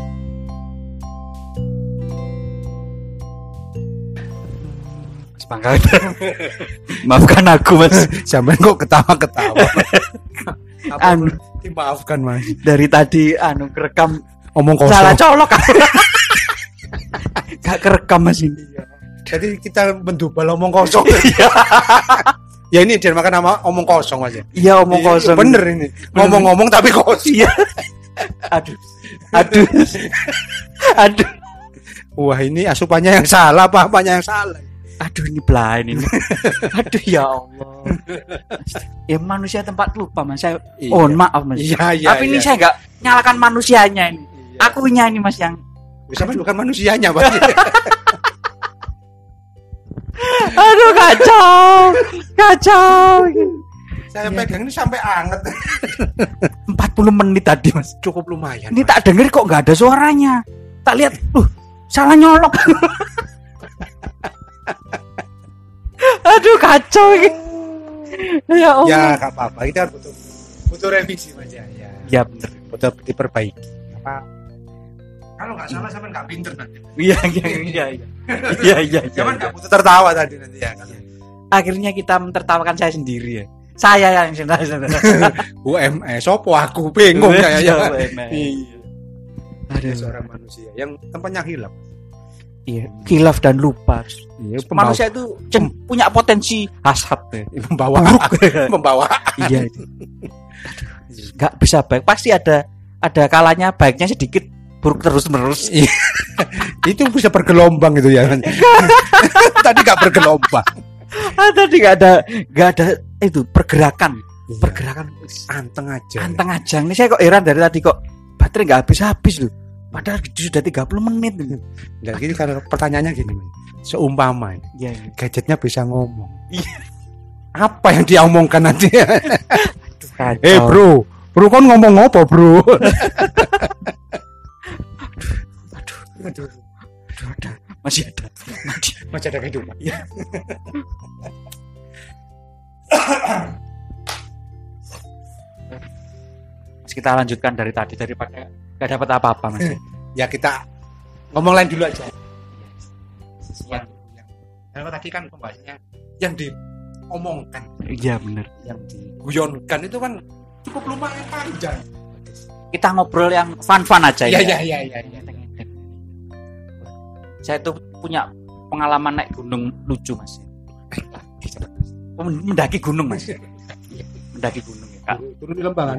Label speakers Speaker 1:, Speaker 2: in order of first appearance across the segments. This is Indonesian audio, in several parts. Speaker 1: tanggal maafkan aku mas
Speaker 2: Sampai kok ketawa-ketawa. Apa
Speaker 1: An-
Speaker 2: perlu dimaafkan mas.
Speaker 1: dari tadi anu kerekam
Speaker 2: Omong kosong.
Speaker 1: salah colok aku gak kerekam mas ini
Speaker 2: Jadi kita mendubal omong kosong.
Speaker 1: Iya.
Speaker 2: ya ini dia makan nama omong kosong mas ya.
Speaker 1: iya omong kosong
Speaker 2: Bener ini. Ngomong-ngomong tapi kosong.
Speaker 1: iya aduh aduh aduh
Speaker 2: Wah ini asupannya yang salah, apa apanya yang salah.
Speaker 1: aduh ini belain ini aduh ya Allah ya manusia tempat lupa mas saya
Speaker 2: Iya.
Speaker 1: mohon maaf mas
Speaker 2: Iya iya.
Speaker 1: tapi ini
Speaker 2: iya.
Speaker 1: saya nggak nyalakan manusianya ini akunya ini mas yang
Speaker 2: Bisa mas bukan manusianya mas.
Speaker 1: Iya. aduh kacau kacau Iya.
Speaker 2: saya pegang ini sampai anget.
Speaker 1: 40 menit tadi mas
Speaker 2: Cukup lumayan.
Speaker 1: ini
Speaker 2: Mas.
Speaker 1: tak denger kok nggak ada suaranya tak lihat uh salah nyolok aduh kacau ini ya Allah
Speaker 2: Ya nggak apa-apa. Kita butuh butuh revisi mas ya. ya.
Speaker 1: ya bener
Speaker 2: Butuh diperbaiki. Apa? Kalau nggak salah sampai nggak pinter nanti.
Speaker 1: iya iya iya iya iya iya
Speaker 2: Cuman nggak butuh tertawa tadi nanti ya.
Speaker 1: akhirnya kita mentertawakan saya sendiri ya saya yang senang
Speaker 2: UMS, eh, sopo aku bingung
Speaker 1: ya,
Speaker 2: kayaknya. Iya.
Speaker 1: Aduh.
Speaker 2: Ada seorang manusia yang tempatnya hilang.
Speaker 1: iya kilaf dan lupa
Speaker 2: Iya,
Speaker 1: manusia itu cen- punya potensi hasad ya.
Speaker 2: membawa membawa.
Speaker 1: iya itu. Aduh, nggak bisa baik pasti ada ada kalanya baiknya sedikit buruk terus menerus
Speaker 2: Itu bisa bergelombang gitu ya. Tadi nggak bergelombang.
Speaker 1: ah, tadi nggak ada nggak ada itu pergerakan
Speaker 2: Bergerak
Speaker 1: pergerakan
Speaker 2: Iya. anteng aja.
Speaker 1: anteng aja ini saya kok heran dari tadi kok baterai nggak habis habis loh padahal itu sudah 30 menit loh.
Speaker 2: Dan gini kalau pertanyaannya gini, Mas. seumpama ini,
Speaker 1: Iya, iya.
Speaker 2: gadgetnya bisa ngomong. Iya. Apa yang dia omongkan nanti? ya?
Speaker 1: Kacau.
Speaker 2: Eh bro, bro kan ngomong apa bro?
Speaker 1: Aduh, ada. masih ada masih ada.
Speaker 2: Masih ada Ya, kehidupan.
Speaker 1: Mas, kita lanjutkan dari tadi daripada nggak dapat apa-apa mas
Speaker 2: Ya kita ngomong lain dulu aja.
Speaker 1: Yang-
Speaker 2: Karena tadi kan pembahasannya yang diomongkan,
Speaker 1: iya bener
Speaker 2: yang diguyonkan itu kan cukup lumayan panjang.
Speaker 1: kita ngobrol yang fun-fun aja
Speaker 2: Iya iya iya iya. Ya.
Speaker 1: Saya tuh punya pengalaman naik gunung lucu mas. Oh, Mendaki gunung mas.
Speaker 2: Iya.
Speaker 1: Mendaki gunung ya. Kak.
Speaker 2: Turun di lembah kan?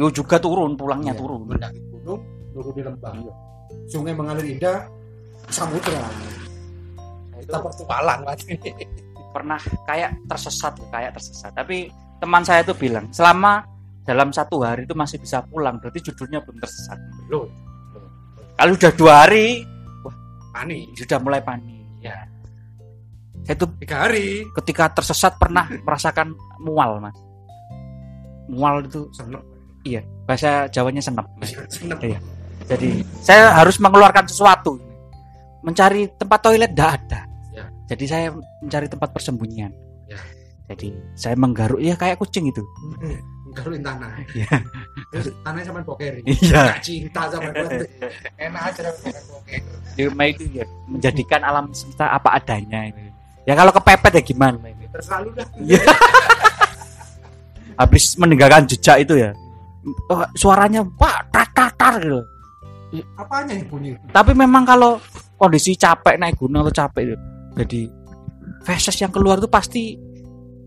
Speaker 1: Yo juga turun, pulangnya
Speaker 2: Iya,
Speaker 1: turun.
Speaker 2: Mendaki gunung, turun di lembah. Sungai mengalir indah, samudra. Kita pertualang lagi.
Speaker 1: Pernah kayak tersesat, kayak tersesat. Tapi teman saya tuh bilang selama dalam satu hari itu masih bisa pulang. Berarti judulnya belum tersesat.
Speaker 2: Belum.
Speaker 1: Kalau udah dua hari
Speaker 2: Ani,
Speaker 1: sudah mulai panik. Ya. Saya tuh
Speaker 2: tiga hari.
Speaker 1: ketika tersesat pernah merasakan mual mas. Mual itu
Speaker 2: Seneng.
Speaker 1: bahasa Jawanya senep.
Speaker 2: Seneng.
Speaker 1: Iya. Jadi saya harus mengeluarkan sesuatu. Mencari tempat toilet tidak ada.
Speaker 2: Ya.
Speaker 1: Jadi saya mencari tempat persembunyian.
Speaker 2: Ya.
Speaker 1: Jadi saya menggaruk ya kayak kucing itu.
Speaker 2: Garuin tanah.
Speaker 1: Iya.
Speaker 2: Terus tanahnya sampai boker.
Speaker 1: Iya.
Speaker 2: Gak cinta sama gue. Enak aja lah boker boker.
Speaker 1: itu ya menjadikan alam semesta apa adanya itu. Ya kalau kepepet ya gimana ini.
Speaker 2: Terus lalu dah.
Speaker 1: Habis meninggalkan jejak itu ya. Oh, suaranya pak tar tar tar gitu.
Speaker 2: Apanya nih bunyi?
Speaker 1: Tapi memang kalau kondisi capek naik gunung atau capek itu, jadi feses yang keluar itu pasti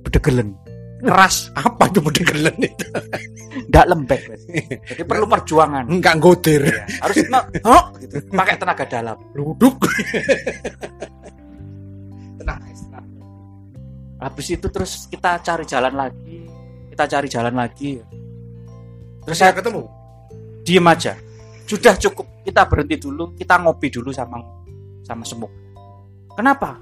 Speaker 1: bedegelen, keras,
Speaker 2: Apa tuh bedegelen itu?
Speaker 1: ndak lembek. Jadi
Speaker 2: Ya.
Speaker 1: perlu perjuangan.
Speaker 2: Enggak ngotir.
Speaker 1: Harus no- no, gitu. pakai tenaga dalam.
Speaker 2: Luduk. Tenang, guys, tenang.
Speaker 1: Habis itu terus kita cari jalan lagi, kita cari jalan lagi. Terus saya
Speaker 2: Saya ketemu.
Speaker 1: diem aja. Sudah cukup, kita berhenti dulu, kita ngopi dulu sama sama semuk. Kenapa?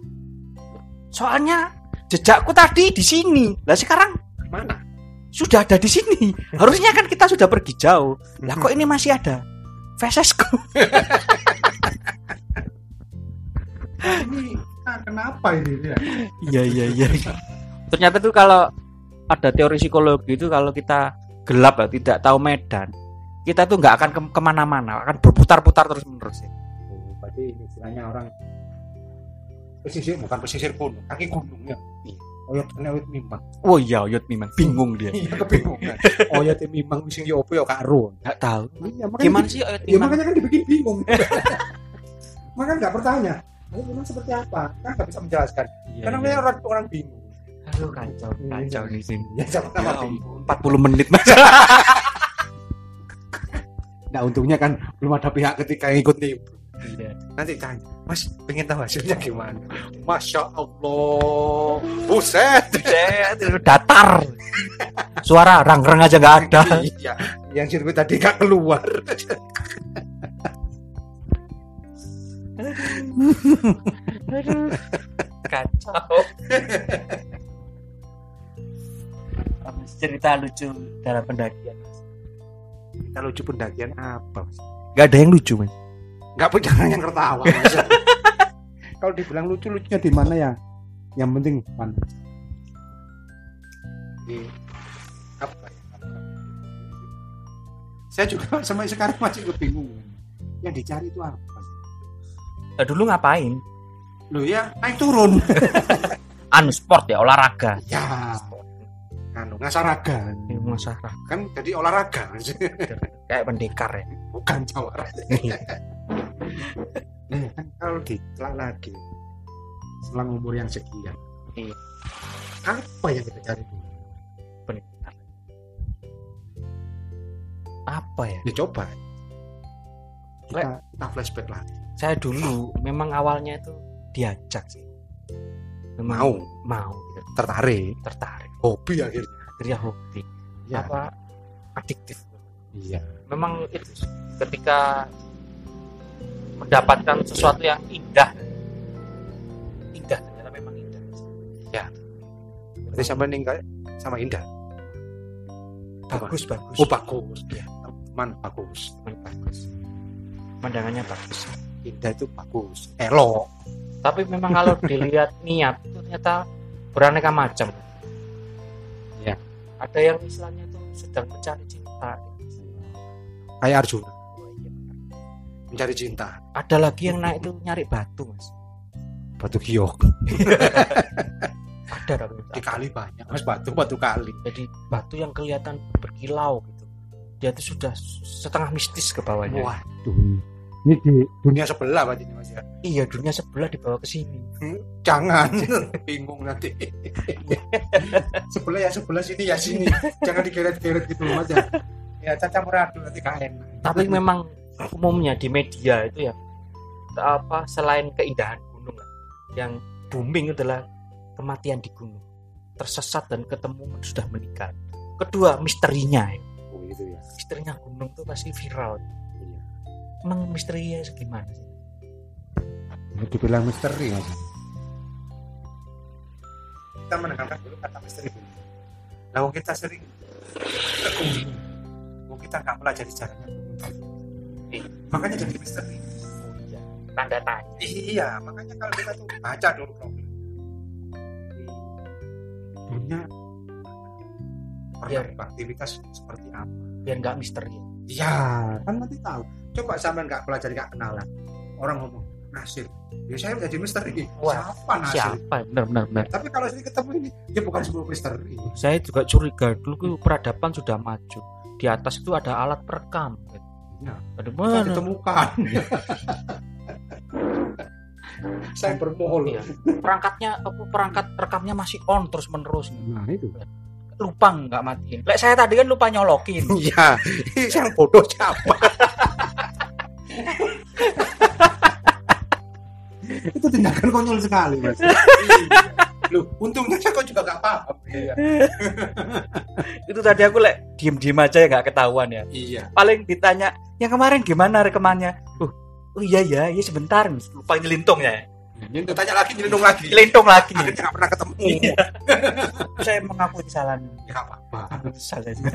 Speaker 1: Soalnya jejakku tadi di sini. Lah sekarang
Speaker 2: Mana?
Speaker 1: sudah ada di sini. Harusnya kan kita sudah pergi jauh. Lah kok ini masih ada? Fesesku.
Speaker 2: Ini ah, kenapa ini? Ya?
Speaker 1: Iya iya iya. Ternyata tuh kalau ada teori psikologi itu kalau kita gelap ya, tidak tahu medan, kita tuh nggak akan ke- kemana-mana, akan berputar-putar terus menerus. Ya.
Speaker 2: Oh, berarti ini istilahnya orang pesisir bukan pesisir pun kaki gunungnya oyot kene oyot mimang
Speaker 1: Oh iya, Yot Mimang bingung dia.
Speaker 2: iya kebingungan oyot mimang wis yo opo ya, yo karo
Speaker 1: Enggak tahu.
Speaker 2: iya makanya
Speaker 1: Gimana sih Yot
Speaker 2: Ya
Speaker 1: Mimang?
Speaker 2: makanya kan dibikin bingung. makanya nggak bertanya. Ini memang seperti apa? Kan nggak bisa menjelaskan. Karena
Speaker 1: iya.
Speaker 2: memang orang orang bingung.
Speaker 1: Aduh, kacau, kacau di sini. Iya.
Speaker 2: Ya sama sama
Speaker 1: Ya
Speaker 2: bingung.
Speaker 1: ampun, 40 menit mas.
Speaker 2: Nah untungnya kan belum ada pihak ketika yang ikut nih.
Speaker 1: Iya.
Speaker 2: Nanti tanya, Mas pengen tahu hasilnya gimana? Masya Allah, buset.
Speaker 1: Buset, itu datar. Suara rang-rang aja nggak ada.
Speaker 2: iya, yang sirkuit tadi nggak keluar.
Speaker 1: Kacau. cerita lucu dalam pendakian mas.
Speaker 2: Kita lucu pendakian apa? Mas?
Speaker 1: Gak ada yang lucu mas.
Speaker 2: Nggak punya orang yang tertawa. Mas. Kalau dibilang lucu lucunya di mana ya? Yang penting fun. Di apa ya? Saya juga sampai sekarang masih kebingungan. Yang dicari itu apa?
Speaker 1: Nah, dulu ngapain?
Speaker 2: Loh ya, naik turun.
Speaker 1: Anu sport ya olahraga.
Speaker 2: ya,
Speaker 1: Ah.
Speaker 2: anu ngasaraga.
Speaker 1: Ini masalah
Speaker 2: Kan jadi olahraga.
Speaker 1: kayak pendekar ya.
Speaker 2: Bukan cawara. Nah, kan kalau ditelak lagi selang umur yang sekian.
Speaker 1: Iya.
Speaker 2: Apa yang kita cari dulu?
Speaker 1: Pendekar. Apa ya?
Speaker 2: Dicoba.
Speaker 1: Lek.
Speaker 2: Kita, kita flashback lagi.
Speaker 1: Saya dulu memang awalnya itu diajak sih. Memang
Speaker 2: Mau,
Speaker 1: mau gitu,
Speaker 2: tertarik,
Speaker 1: tertarik.
Speaker 2: hobi akhirnya.
Speaker 1: Akhirnya hobi.
Speaker 2: Ya.
Speaker 1: Apa adiktif.
Speaker 2: Iya.
Speaker 1: memang itu ketika mendapatkan sesuatu yang indah indah ternyata memang indah
Speaker 2: Ya. Berarti sama ninggal sama Indah.
Speaker 1: bagus bagus
Speaker 2: Oh, bagus.
Speaker 1: Iya.
Speaker 2: Man bagus.
Speaker 1: Memang bagus pandangannya bagus
Speaker 2: Indah itu bagus. Elok.
Speaker 1: tapi memang kalau dilihat niat itu ternyata beraneka macam
Speaker 2: Ya.
Speaker 1: ada yang istilahnya itu sedang mencari cinta
Speaker 2: Kayak Arjuna mencari cinta.
Speaker 1: ada lagi yang naik itu nyari batu mas
Speaker 2: Batu giok.
Speaker 1: ada tapi
Speaker 2: Di kali banyak. Mas batu, batu kali.
Speaker 1: jadi batu yang kelihatan berkilau gitu dia itu sudah setengah mistis ke bawahnya
Speaker 2: Waduh. Ini di dunia sebelah berarti ini, Mas ya.
Speaker 1: iya dunia sebelah dibawa ke sini
Speaker 2: Jangan bingung nanti. sebelah ya sebelah sini ya sini. Jangan digeret-geret gitu loh Mas ya. Ya cacampur aduk nanti gak enak.
Speaker 1: tapi memang umumnya di media itu ya apa selain keindahan gunung lah, yang booming adalah kematian di gunung tersesat dan ketemu sudah menikah kedua misterinya ya.
Speaker 2: Oh, gitu ya.
Speaker 1: misterinya gunung itu pasti viral
Speaker 2: Iya.
Speaker 1: emang misterinya segimana sih
Speaker 2: Ini ya. dibilang misteri mas. Kita mendengarkan dulu kata misteri dulu. Nah, wong kita sering terkunci. Wong kita nggak pelajari caranya.
Speaker 1: Iya.
Speaker 2: Makanya jadi misteri.
Speaker 1: tanda tanya
Speaker 2: Iya, makanya kalau kita tuh baca dulu problem. Dunia
Speaker 1: Iya.
Speaker 2: pernah beraktivitas seperti apa?
Speaker 1: biar nggak misteri
Speaker 2: Iya, kan nanti tahu. Coba sampean nggak pelajari nggak kenalan. Orang ngomong nasir. Ya saya jadi misteri.
Speaker 1: Wah,
Speaker 2: Siapa nasir?
Speaker 1: siapa benar benar benar
Speaker 2: Tapi kalau sini ketemu ini, dia bukan sebuah misteri.
Speaker 1: saya juga curiga dulu ke peradaban sudah maju di atas itu ada alat perekam
Speaker 2: Ya.
Speaker 1: Aduh,
Speaker 2: Saya
Speaker 1: mana?
Speaker 2: ditemukan. saya bermohon.
Speaker 1: Iya. perangkatnya apa perangkat rekamnya masih on terus menerus
Speaker 2: Nah itu.
Speaker 1: lupa nggak matiin Lek saya tadi kan lupa nyolokin
Speaker 2: Iya, yang bodoh siapa? itu tindakan konyol sekali mas. Loh, untungnya saya kok juga gak paham. Iya.
Speaker 1: itu tadi aku lek diem diem aja ya nggak ketahuan ya
Speaker 2: iya.
Speaker 1: paling ditanya yang kemarin gimana rekamannya uh oh iya ya iya sebentar lupa nyelintung ya
Speaker 2: Ini tanya lagi, nyelinung lagi.
Speaker 1: nyelintung lagi
Speaker 2: Akhirnya gak pernah ketemu.
Speaker 1: Iya. saya mengakui kesalahan
Speaker 2: Gak apa-apa.
Speaker 1: Aku kesal saya juga.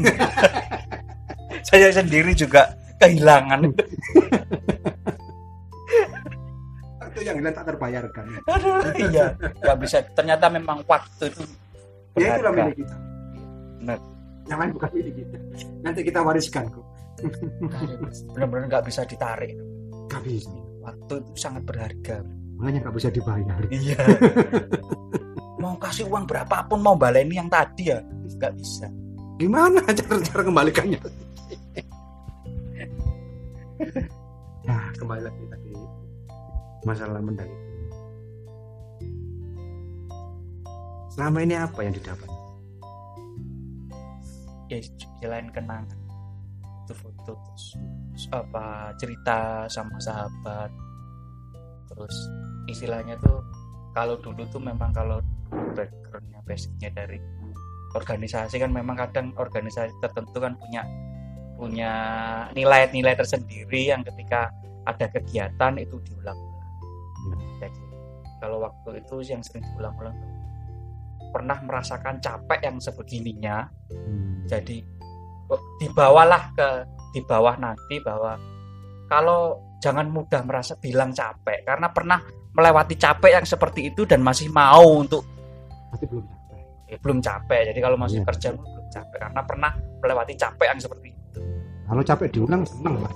Speaker 1: saya sendiri juga kehilangan
Speaker 2: Itu yang hilang tak terbayarkan. Ya,
Speaker 1: Aduh, iya nggak bisa ternyata memang waktu itu
Speaker 2: Ya itulah
Speaker 1: berharga.
Speaker 2: milik kita.
Speaker 1: Benar.
Speaker 2: Yang lain bukan milik kita. Nanti kita wariskan kok.
Speaker 1: benar-benar nggak bisa ditarik
Speaker 2: Gak bisa.
Speaker 1: waktu itu sangat berharga
Speaker 2: Makanya nggak bisa dibayar.
Speaker 1: Iya. mau kasih uang berapapun mau baleni yang tadi ya nggak bisa.
Speaker 2: Gimana cara cara kembalikannya? nah, kembali lagi tadi masalah mendaki. Selama ini apa yang didapat?
Speaker 1: Ya selain kenangan itu foto terus apa cerita sama sahabat terus istilahnya tuh kalau dulu tuh memang kalau backgroundnya basicnya dari organisasi kan memang kadang organisasi tertentu kan punya punya nilai-nilai tersendiri yang ketika ada kegiatan itu diulang jadi kalau waktu itu yang sering diulang-ulang tuh, pernah merasakan capek yang sebegininya
Speaker 2: Hmm.
Speaker 1: jadi oh, dibawalah ke di bawah nanti bahwa kalau jangan mudah merasa bilang capek karena pernah melewati capek yang seperti itu dan masih mau untuk
Speaker 2: Pasti belum sampai.
Speaker 1: eh, belum capek jadi kalau masih
Speaker 2: Iya.
Speaker 1: kerja belum capek karena pernah melewati capek yang seperti itu
Speaker 2: Kalau capek diulang seneng lah.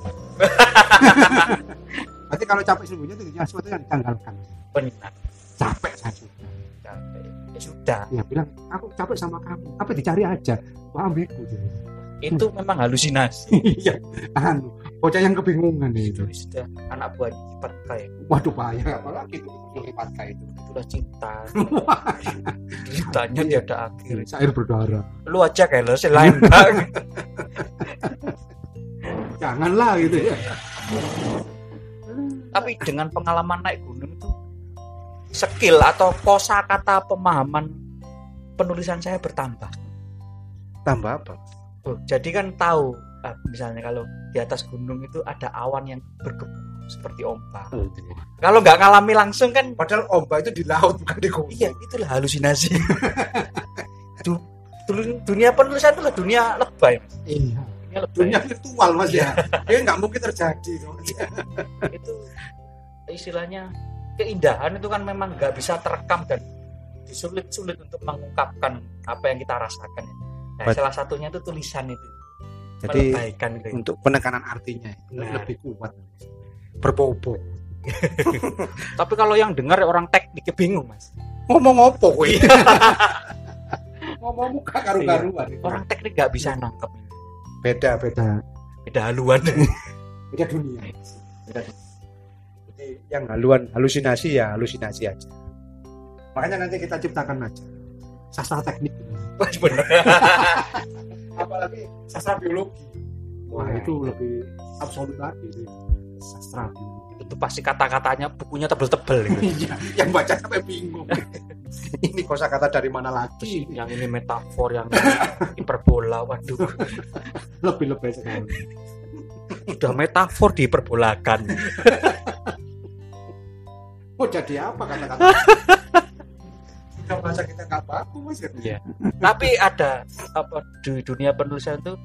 Speaker 2: Berarti kalau capek sebelumnya itu ya, sesuatu yang ditanggalkan.
Speaker 1: benar
Speaker 2: Capek saya sudah.
Speaker 1: capek ya sudah
Speaker 2: Ya bilang, aku capek sama kamu. Apa dicari aja? Wah ambigu dia.
Speaker 1: itu
Speaker 2: Hmm.
Speaker 1: memang halusinasi
Speaker 2: Iya. Anu, bocah yang kebingungan ya itu.
Speaker 1: itu sudah anak buah kiper kayak
Speaker 2: Waduh bahaya.
Speaker 3: apalagi itu melibatkan itu
Speaker 1: itulah cinta ceritanya
Speaker 2: Iya.
Speaker 1: tiada akhir
Speaker 2: Cair berdarah.
Speaker 1: lu aja kayak lo lain bang
Speaker 2: Janganlah gitu ya.
Speaker 1: tapi dengan pengalaman naik gunung itu skill atau kosakata pemahaman penulisan saya bertambah
Speaker 2: Tambah apa?
Speaker 1: Oh, jadi kan tahu ah, misalnya kalau di atas gunung itu ada awan yang bergebu seperti ombak
Speaker 2: Oh,
Speaker 1: kalau nggak ngalami langsung kan
Speaker 3: padahal ombak itu di laut bukan di gunung
Speaker 1: iya itulah halusinasi Du- dulu- dunia penulisan itulah dunia lebay Mas.
Speaker 2: Iya.
Speaker 1: dunia lebay
Speaker 3: dunia virtual mas ya dia nggak mungkin terjadi Mas. ya.
Speaker 1: itu istilahnya keindahan itu kan memang nggak bisa terekam dan disulit-sulit untuk mengungkapkan apa yang kita rasakan. Nah,
Speaker 2: Bet-
Speaker 1: salah satunya itu tulisan itu,
Speaker 2: Jadi
Speaker 1: melebaikan itu.
Speaker 2: untuk penekanan artinya
Speaker 1: Nah.
Speaker 2: lebih kuat. Berbobo.
Speaker 1: Tapi kalau yang dengar orang tekniknya bingung mas,
Speaker 2: Iya.
Speaker 3: ngomong apa kowe ngomong muka karu-karuan
Speaker 1: orang teknik nggak bisa nangkep
Speaker 2: Beda beda.
Speaker 1: beda haluan.
Speaker 2: Beda dunia. Beda dunia. Jadi yang haluan halusinasi ya halusinasi aja. Makanya nanti kita ciptakan aja sastra teknik.
Speaker 1: Wah, bener.
Speaker 3: apalagi sastra biologi
Speaker 2: Wah itu lebih absolut lagi itu sastra biologi.
Speaker 1: itu pasti kata-katanya bukunya tebel-tebel. Gitu.
Speaker 3: iya yang baca sampai bingung ini kosakata dari mana lagi
Speaker 1: Terus
Speaker 2: Iya.
Speaker 1: yang ini metafor, yang ini hiperbola. Waduh,
Speaker 2: lebih lebih sekali.
Speaker 1: udah metafor dihiperbolakan.
Speaker 3: mau jadi apa kata-kata kita baca kita nggak baku mas ya
Speaker 1: Iya. Tapi ada apa di dunia penulisan itu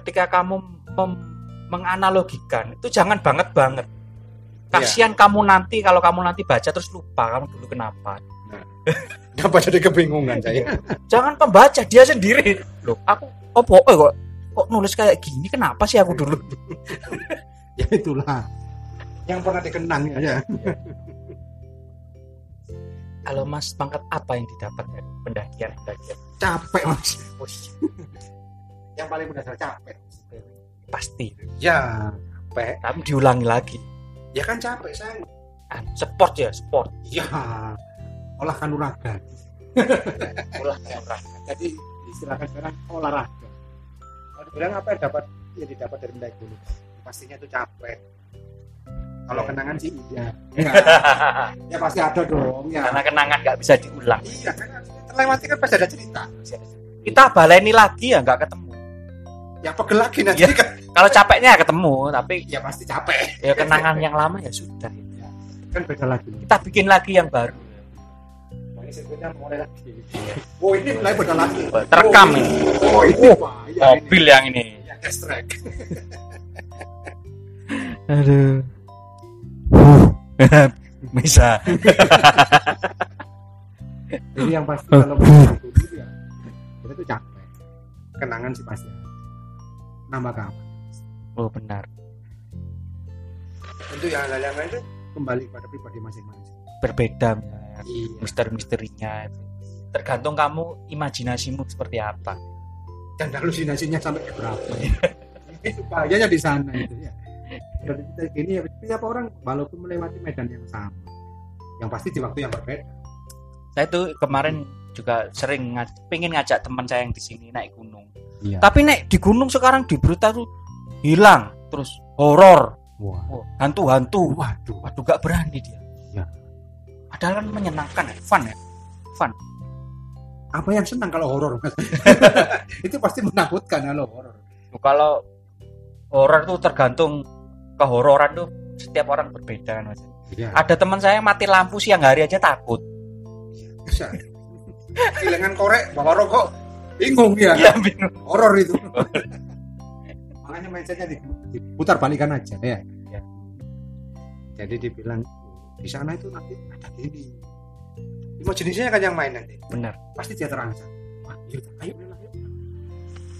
Speaker 1: ketika kamu mem- menganalogikan itu jangan banget banget.
Speaker 2: Iya.
Speaker 1: Kasihan kamu nanti kalau kamu nanti baca terus lupa kamu dulu kenapa.
Speaker 2: Kenapa jadi kebingungan
Speaker 3: ya.
Speaker 2: saya?
Speaker 1: Jangan pembaca dia sendiri. Loh, aku oh po- eh, kok kok nulis kayak gini kenapa sih aku dulu?
Speaker 2: ya itulah yang pernah dikenang ya.
Speaker 1: Kalau Mas pangkat apa yang didapat dari pendakian pendakian?
Speaker 2: Capek mas.
Speaker 1: Wih,
Speaker 3: yang paling mendasar capek
Speaker 1: pasti.
Speaker 2: Ya capek.
Speaker 1: Tapi diulangi lagi.
Speaker 3: ya kan capek Iya. saya
Speaker 1: Ah, sport ya sport.
Speaker 2: Ya olah
Speaker 3: kan
Speaker 2: kanuragan.
Speaker 1: Ulah kayak
Speaker 2: Jadi istilahkan sekarang olahraga.
Speaker 3: kalau dibilang apa yang dapat ya didapat dari naik gunung pastinya itu capek kalau
Speaker 2: Iya.
Speaker 3: kenangan sih iya
Speaker 1: orang.
Speaker 3: ya pasti ada dong ya
Speaker 1: karena kenangan nggak bisa diulang
Speaker 3: iya karena terlewati kan pasti ada cerita
Speaker 1: kita baleni lagi ya nggak ketemu
Speaker 3: ya pegel lagi nanti
Speaker 1: Iya.
Speaker 3: kan
Speaker 1: kalau capeknya ya ketemu tapi
Speaker 3: ya pasti capek
Speaker 1: ya kenangan yang lama ya sudah
Speaker 2: Kan beda lagi.
Speaker 1: kita bikin lagi yang baru
Speaker 3: Wah, Nah, ini sebetulnya mulai lagi oh ini mulai beda lagi
Speaker 1: terekam
Speaker 3: oh,
Speaker 1: ini
Speaker 3: ini- oh ini bahaya ini
Speaker 1: mobil yang ini
Speaker 3: ya test track
Speaker 1: aduh bisa
Speaker 2: Jadi yang pasti kalau mau itu ya kita tuh capek. Kenangan sih pasti. ada. Nambah kapan?
Speaker 1: oh benar
Speaker 3: untuk yang hal-hal yang lain itu
Speaker 2: Kembali pada pribadi masing-masing.
Speaker 1: berbeda misalnya.
Speaker 2: Iya.
Speaker 1: mister-misterinya itu. Tergantung kamu imajinasimu seperti apa.
Speaker 2: Dan halusinasinya sampai ke berapa? itu bahayanya di sana itu ya. Dan kita gini ya, setiap orang walaupun melewati medan yang sama, yang pasti di waktu yang berbeda.
Speaker 1: Saya tuh kemarin juga sering ngaj- pengen ngajak teman saya yang di sini naik gunung.
Speaker 2: Iya.
Speaker 1: Tapi naik di gunung sekarang di berita tuh hilang, terus horor,
Speaker 2: Wah,
Speaker 1: oh, hantu-hantu.
Speaker 2: waduh, waduh.
Speaker 1: Waduh, gak berani dia.
Speaker 2: Ya.
Speaker 1: Padahal kan menyenangkan, ya, fun ya.
Speaker 2: Apa yang senang kalau horor? Mas? itu pasti menakutkan kalau horor.
Speaker 1: Tuh, Kalau horor tuh tergantung kehororan tuh setiap orang berbeda kan Mas.
Speaker 2: Iya.
Speaker 1: Ada teman saya yang mati lampu siang hari aja takut.
Speaker 2: Bisa. Kilangan korek, bawa rokok, bingung ya.
Speaker 1: Iya, bingung.
Speaker 2: horor itu makanya mindsetnya di- diputar balikan aja ya.
Speaker 1: Ya.
Speaker 2: jadi dibilang di sana itu nanti ada gini lima jenisnya kan yang main nanti
Speaker 1: Benar.
Speaker 2: pasti dia terangsang Wah, iya, ayo ayo, ayo.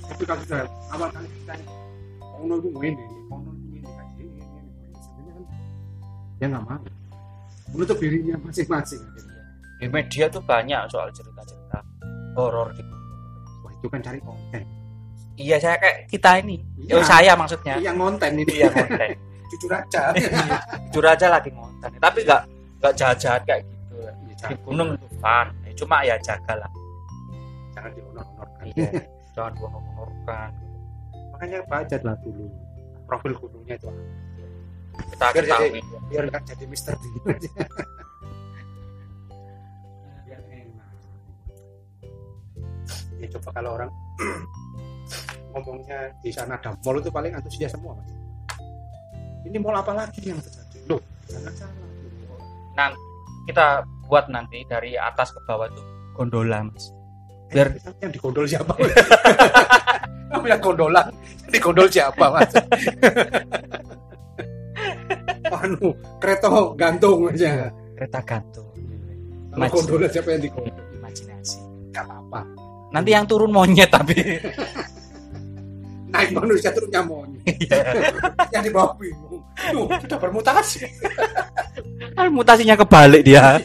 Speaker 2: tapi kalau sudah awal kali kita kono itu ini kono itu ini kayak gini, gini, gini. Sebenarnya kan dia nggak mau menutup dirinya masing-masing
Speaker 1: Di media tuh banyak soal cerita-cerita horor gitu.
Speaker 2: wah itu kan cari konten
Speaker 1: Iya, saya kayak kita ini.
Speaker 2: Iya.
Speaker 1: Eh, saya maksudnya.
Speaker 2: yang konten ini
Speaker 1: Iya, konten.
Speaker 2: jujur aja
Speaker 1: Jujur aja lagi ngonten. Tapi nggak nggak jahat-jahat kayak gitu. Di gunung itu fun. Ya, Cuma ya jagalah.
Speaker 2: jangan dihonor-honorkan
Speaker 1: Iya. Jangan gua ngomong-ngomongkan.
Speaker 2: makanya baca lah dulu profil gunungnya itu
Speaker 1: Kita
Speaker 2: Biar jadi-
Speaker 1: ketahui.
Speaker 2: biar nggak jadi Mister Bean biar enak ya coba kalau orang ngomongnya di sana ada mall itu paling antusias semua mas ini mall apa lagi yang terjadi loh jangan salah
Speaker 1: Nah, kita buat nanti dari atas ke bawah tuh gondola, Mas. Biar-
Speaker 2: Eh, yang digondol siapa kamu yang gondolan yang digondol siapa mas anu kereta gantung aja
Speaker 1: Kereta gantung.
Speaker 2: Kalau
Speaker 1: Mas.
Speaker 2: gondola siapa yang digondol
Speaker 1: Imajinasi.
Speaker 2: nggak apa-apa
Speaker 1: Nanti yang turun monyet tapi.
Speaker 2: naik manusia terus nyamon
Speaker 1: Iya.
Speaker 2: yang di bawah bingung Duh, sudah bermutasi
Speaker 1: Kan mutasinya kebalik dia.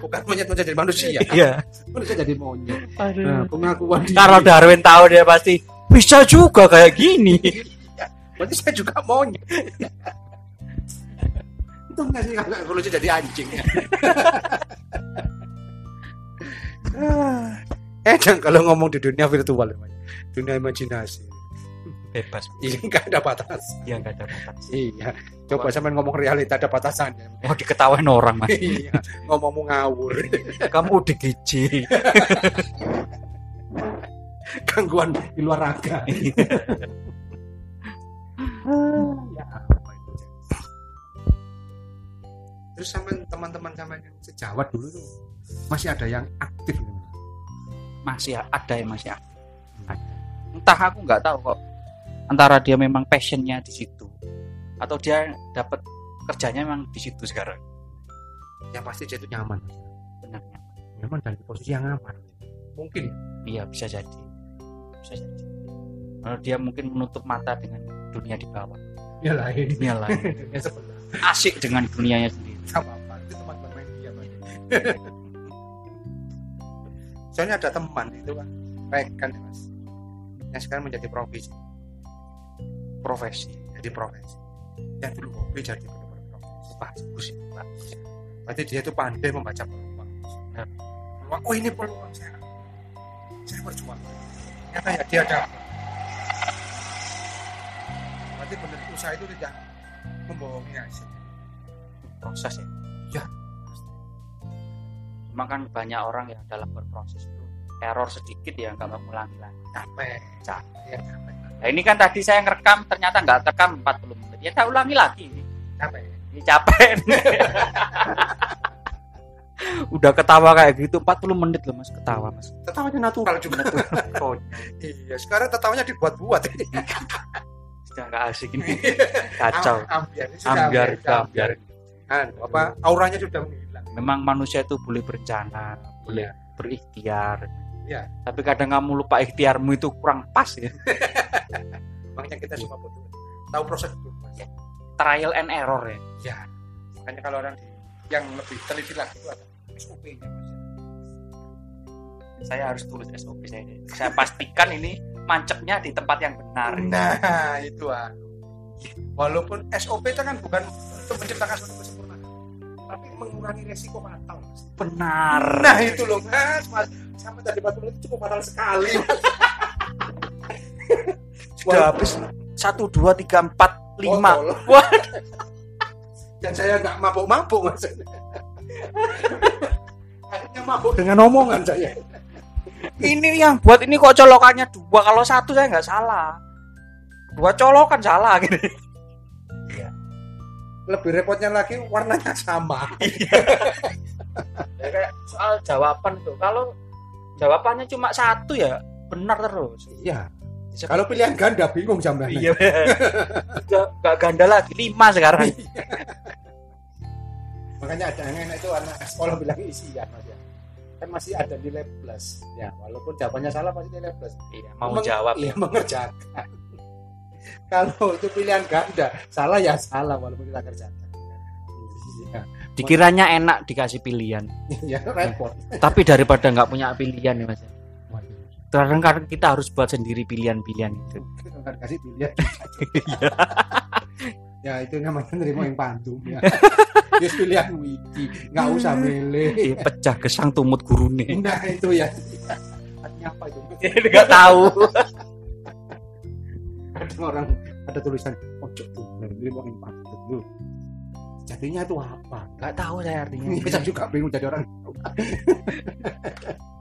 Speaker 2: bukan monyet menjadi manusia
Speaker 1: Iya.
Speaker 2: manusia jadi monyet nah
Speaker 1: Aduh.
Speaker 2: pengakuan diri.
Speaker 1: Kalau Darwin tahu dia pasti bisa juga kayak gini.
Speaker 2: berarti saya juga monyet itu nggak sih kalau evolusi jadi anjing eh jangan kalau ngomong di dunia virtual namanya. dunia imajinasi
Speaker 1: Bebas.
Speaker 2: ini nggak ada batas
Speaker 1: Iya nggak ada batas.
Speaker 2: iya coba sampean ngomong realita ada batasannya
Speaker 1: Mau diketawain orang mas.
Speaker 2: iya ngomongmu ngawur
Speaker 1: Kamu udah gici.
Speaker 2: gangguan di luar raga ya apa itu terus sama teman-teman sama yang sejawat dulu tuh masih ada yang aktif gitu.
Speaker 1: Masih ada ya masih ada. Ada. Entah aku nggak tahu kok. Antara dia memang passionnya di situ atau dia dapat kerjanya memang di situ sekarang.
Speaker 2: yang Ya pasti dia itu nyaman
Speaker 1: Benarnya.
Speaker 2: nyaman dan di posisi yang aman mungkin ya.
Speaker 1: Iya bisa jadi. Bisa jadi. Kalau dia mungkin menutup mata dengan dunia di bawah.
Speaker 2: ya lain
Speaker 1: Dunia lain.
Speaker 2: dunia sebelah
Speaker 1: Asik dengan dunianya sendiri.
Speaker 2: sama apa itu teman bermain dia Pak. soalnya ada teman itu kan rekan ya, mas yang sekarang menjadi profesi
Speaker 1: Profesi.
Speaker 2: jadi profesi yang dulu hobi jadi benar-benar profesi bagus ya bagus berarti dia itu pandai membaca peluang Nah,
Speaker 1: Ya.
Speaker 2: peluang oh ini peluang saya saya berjuang ternyata ya dia ada berarti benar usaha itu tidak membohongi hasil
Speaker 1: proses ya.
Speaker 2: Ya.
Speaker 1: Cuma kan banyak orang yang dalam berproses itu error sedikit ya nggak mau ulangi lagi.
Speaker 2: capek capek ya capek
Speaker 1: Nah, ini kan tadi saya ngerekam ternyata nggak terekam 40 menit. Ya saya ulangi lagi.
Speaker 2: capek
Speaker 1: Ini capek. Udah ketawa kayak gitu 40 menit loh Mas ketawa Mas. Oh,
Speaker 2: tetawanya natural juga iya sekarang tetawanya dibuat-buat
Speaker 1: Sudah nggak asik ini. Kacau.
Speaker 2: ambiar
Speaker 1: Ambiar, ambiar.
Speaker 2: Anu, apa auranya sudah menghilang
Speaker 1: Memang manusia itu boleh berencana, boleh berikhtiar.
Speaker 2: Iya.
Speaker 1: Tapi kadang kamu lupa ikhtiarmu itu kurang pas ya.
Speaker 2: makanya kita semua butuh tahu proses dulu mas
Speaker 1: Trial and error ya.
Speaker 2: Iya. makanya kalau orang di yang lebih teliti lagi itu ada SOP-nya mas
Speaker 1: Saya harus tulis SOP saya. Saya pastikan ini mancepnya di tempat yang benar.
Speaker 2: Nah, itu ah. Walaupun SOP itu kan bukan untuk menciptakan suatu kesempurnaan, tapi mengurangi resiko fatal. Mas.
Speaker 1: Benar.
Speaker 2: Nah, itu loh, Mas. Mas, sama tadi batu itu cukup fatal sekali. Mas.
Speaker 1: Sudah habis satu dua tiga empat lima.
Speaker 2: Botol.
Speaker 1: Wah,
Speaker 2: Dan saya nggak mabuk-mabuk, Mas. Akhirnya mabuk dengan omongan saya.
Speaker 1: ini yang buat ini kok colokannya dua kalau satu saya nggak salah. Dua colokan salah gitu.
Speaker 2: Lebih repotnya lagi warnanya sama.
Speaker 1: Ya, kayak soal jawaban tuh kalau jawabannya cuma satu ya benar terus
Speaker 2: Iya. Kalau pilihan ganda bingung sampean.
Speaker 1: iya Udah gak ganda lagi lima sekarang
Speaker 2: makanya ada yang enak itu anak sekolah bilang isian mas ya kan masih ada nilai plus ya walaupun jawabannya salah pasti nilai plus
Speaker 1: iya, mau
Speaker 2: Meng-
Speaker 1: jawab
Speaker 2: iya mengerjakan kalau itu pilihan ganda salah ya salah walaupun kita kerjakan Iya.
Speaker 1: dikiranya enak dikasih pilihan
Speaker 2: ya repot
Speaker 1: tapi daripada nggak punya pilihan ya mas kadang-kadang kita harus buat sendiri pilihan-pilihan itu
Speaker 2: Kita nggak kan kasih pilihan
Speaker 1: Iya.
Speaker 2: ya itu namanya nerima yang pantum ya Yes, pilihan wiki nggak usah milih
Speaker 1: Eh, pecah gesang tumut gurune
Speaker 2: nah itu ya artinya apa itu
Speaker 1: nggak tahu
Speaker 2: ada orang ada tulisan pojok tuh lima yang patut lu jadinya itu apa
Speaker 1: nggak tahu saya artinya
Speaker 2: bisa juga bingung jadi orang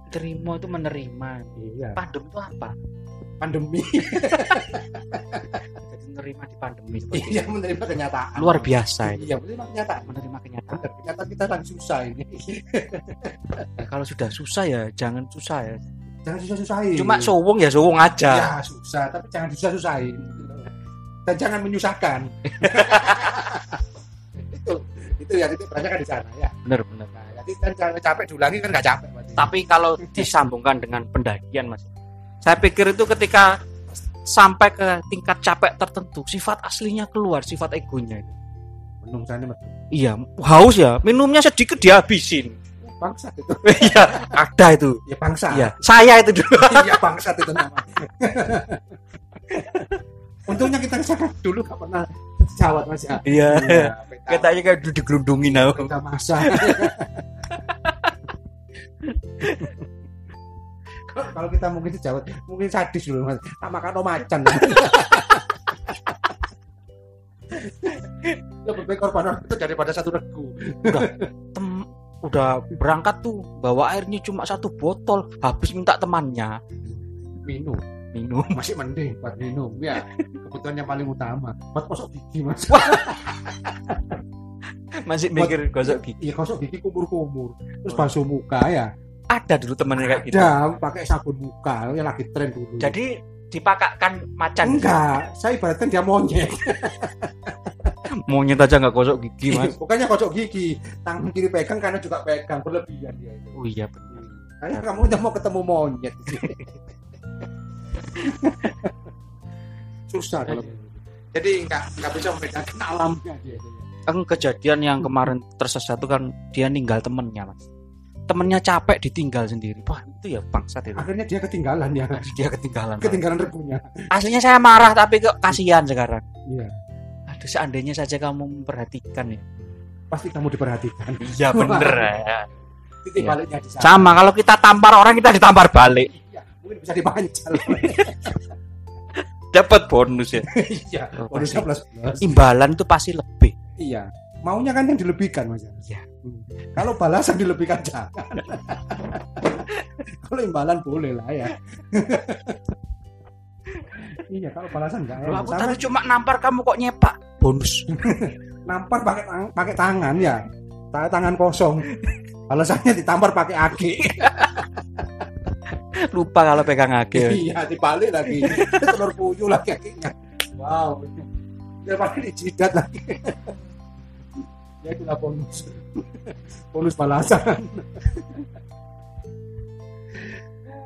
Speaker 1: terima itu menerima
Speaker 2: iya
Speaker 1: pandem itu apa
Speaker 2: pandemi
Speaker 1: jadi menerima di pandemi seperti
Speaker 2: iya menerima kenyataan
Speaker 1: luar biasa ini
Speaker 2: iya menerima kenyataan
Speaker 1: menerima kenyataan
Speaker 2: Bener, kenyataan kita lagi susah ini
Speaker 1: Ya, kalau sudah susah ya jangan susah ya.
Speaker 2: jangan susah susahin
Speaker 1: Cuma sowong ya sowong aja.
Speaker 2: ya susah tapi jangan susah susahin dan jangan menyusahkan itu itu ya itu banyak di sana ya
Speaker 1: Bener bener.
Speaker 2: nah jadi kan kalau capek diulangi kan nggak capek berarti.
Speaker 1: Tapi kalau disambungkan dengan pendakian mas, saya pikir itu ketika sampai ke tingkat capek tertentu sifat aslinya keluar sifat egonya itu.
Speaker 2: menung sana mas.
Speaker 1: Iya haus ya minumnya sedikit dihabisin.
Speaker 2: bangsa Oh, itu
Speaker 1: Iya ada itu.
Speaker 2: ya bangsa
Speaker 1: Iya saya itu dulu.
Speaker 2: iya bangsat itu namanya untungnya kita kesana dulu gak pernah sejawat mas ya
Speaker 1: Iya.
Speaker 2: Iya, peta-
Speaker 1: Katanya kayak duduk gelundungin aku.
Speaker 2: peta masa Kalau- kalau kita mungkin sejawat mungkin sadis dulu mas tak makan no macan lebih baik korban orang itu daripada satu regu
Speaker 1: Tem- udah berangkat tuh bawa airnya cuma satu botol habis minta temannya
Speaker 2: minum
Speaker 1: minum
Speaker 2: masih mending buat minum ya kebutuhan yang paling utama buat kosok gigi mas
Speaker 1: masih
Speaker 2: Buat-
Speaker 1: mikir gosok
Speaker 2: ya
Speaker 1: gigi
Speaker 2: kosok gigi kumur-kumur terus basuh muka ya
Speaker 1: ada dulu temennya kayak gitu.
Speaker 2: Ada pakai sabun muka yang lagi tren dulu.
Speaker 1: Jadi dipakakkan macan.
Speaker 2: enggak, saya ibaratkan dia monyet.
Speaker 1: Monyet aja nggak gosok gigi, Mas.
Speaker 2: Bukannya kocok gigi, tangan kiri pegang karena juga pegang berlebihan dia itu.
Speaker 1: oh iya benar.
Speaker 2: Karena kamu udah mau ketemu monyet. Susah kalau jadi nggak nggak bisa membedakan alamnya dia itu. ya.
Speaker 1: Kan kejadian yang kemarin tersesat itu kan dia ninggal temennya, Mas. Temennya capek ditinggal sendiri. Wah, itu ya bangsat itu.
Speaker 2: Akhirnya dia ketinggalan ya,
Speaker 1: Dia ketinggalan. Mas.
Speaker 2: ketinggalan regunya.
Speaker 1: Aslinya saya marah tapi kok kasihan sekarang.
Speaker 2: Iya,
Speaker 1: Aduh, seandainya saja kamu memperhatikan ya.
Speaker 2: pasti kamu diperhatikan.
Speaker 1: Iya
Speaker 2: bener,
Speaker 1: Ya.
Speaker 2: Titik
Speaker 1: Iya.
Speaker 2: baliknya di sana.
Speaker 1: Sama kalau kita tampar orang kita ditampar balik.
Speaker 2: Iya, mungkin bisa dipancal.
Speaker 1: Dapat bonus ya.
Speaker 2: Iya,
Speaker 1: Oh,
Speaker 2: bonusnya plus plus.
Speaker 1: Imbalan itu pasti lebih.
Speaker 2: Iya. Maunya kan yang dilebihkan mas.
Speaker 1: Iya.
Speaker 2: Hmm. Kalau balasan dilebihkan jangan. kalau imbalan boleh lah ya. iya kalau balasan enggak
Speaker 1: Loh,
Speaker 2: ya.
Speaker 1: aku
Speaker 2: Sama
Speaker 1: tadi cuma nampar kamu kok nyepak. Bonus.
Speaker 2: nampar pakai tang- pakai tangan ya. Ta- Tangan kosong. Balasannya ditampar pakai aki.
Speaker 1: Lupa kalau pegang agil.
Speaker 2: iya dibalik lagi. Telur puyuh lagi akinya. Wow. Daripada dijidat lagi. ya itulah bonus. bonus balasan.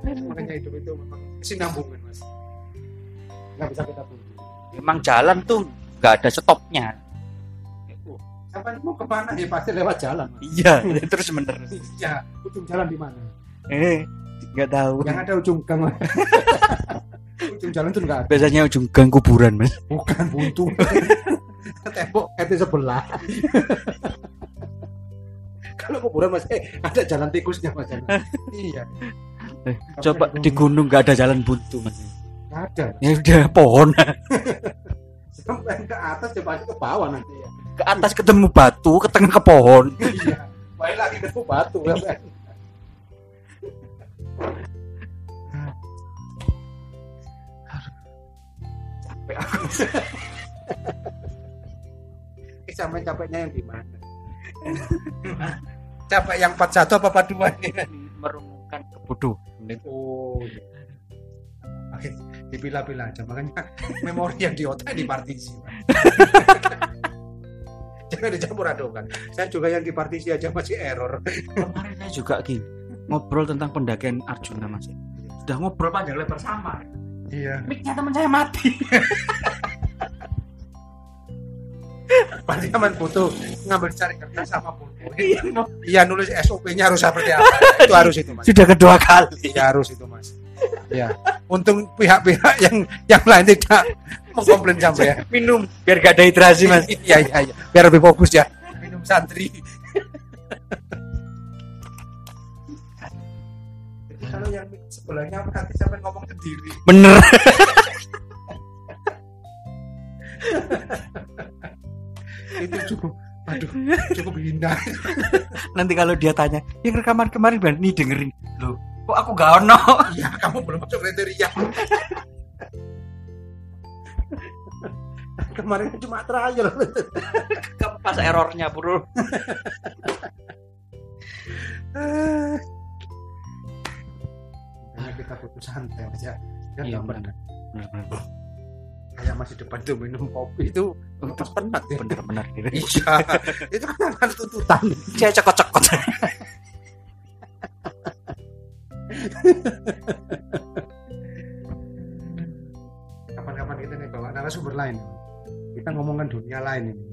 Speaker 2: makanya hidup itu memang kesinambungan mas nggak bisa kita pungkiri
Speaker 1: Memang jalan tuh nggak ada stopnya.
Speaker 2: Sampai mau kemana ya pasti lewat jalan.
Speaker 1: Iya, terus menerus.
Speaker 2: Iya, ujung jalan di mana?
Speaker 1: Eh, nggak tahu.
Speaker 2: Yang ada ujung gang. ujung jalan tuh enggak ada.
Speaker 1: Biasanya ujung gang kuburan, Mas.
Speaker 2: Bukan buntu. Tembok RT sebelah. Kalau kuburan Mas, eh, ada jalan tikusnya Mas. iya.
Speaker 1: Eh, Coba di gunung nggak ada jalan buntu, Mas.
Speaker 2: Nggak ada.
Speaker 1: Ya udah pohon.
Speaker 2: Sampai ke atas coba aja ke bawah nanti ya.
Speaker 1: Ke atas ketemu batu, ke tengah ke pohon.
Speaker 2: Iya. Baik lagi ke batu ya. Mas. Capek aku. Eh, Sampai capeknya yang di mana? Capek yang 41 apa 42 ini?
Speaker 1: Merumungkan kebodohan.
Speaker 2: Oh. iya. Oke, dipilah-pilah aja makanya memori yang di otak dipartisi. Pak. Jangan dicampur adukan. Saya juga yang dipartisi aja masih error.
Speaker 1: Kemarin saya juga gini ngobrol tentang pendakian Arjuna, Mas. Sudah ngobrol panjang lebar sama.
Speaker 2: Iya.
Speaker 1: Miknya teman saya mati.
Speaker 2: Berarti teman butuh ngambil cari kertas sama pulpen.
Speaker 1: Iya, no.
Speaker 2: Iya nulis SOP-nya harus seperti apa. itu harus itu mas.
Speaker 1: Sudah kedua kali.
Speaker 2: Iya harus itu mas. Ya. Untung pihak-pihak yang yang lain tidak mengkomplain sampai ya.
Speaker 1: Minum biar gak ada hidrasi, Mas.
Speaker 2: Iya iya iya. Biar lebih fokus ya. Minum santri. Jadi kalau yang sebelahnya nanti sampai ngomong sendiri.
Speaker 1: Bener.
Speaker 2: Itu cukup. Aduh, cukup hina.
Speaker 1: Nanti kalau dia tanya, yang rekaman kemarin Bang, nih dengerin. Loh, kok aku gak ono?
Speaker 2: Iya, kamu belum masuk kriteria. Kemarin cuma trial.
Speaker 1: Pas errornya, Bro.
Speaker 2: Karena kita butuh santai aja. Kan
Speaker 1: Iya,
Speaker 2: nggak pernah.
Speaker 1: Bener-bener.
Speaker 2: Kayak masih depan tuh minum kopi itu untuk penat ya.
Speaker 1: Bener-bener.
Speaker 2: Iya, itu kan ada tuntutan.
Speaker 1: Saya cekot-cekot.
Speaker 2: Kapan-kapan kita nih bawa narasumber lain. Kita ngomongkan dunia lain ini.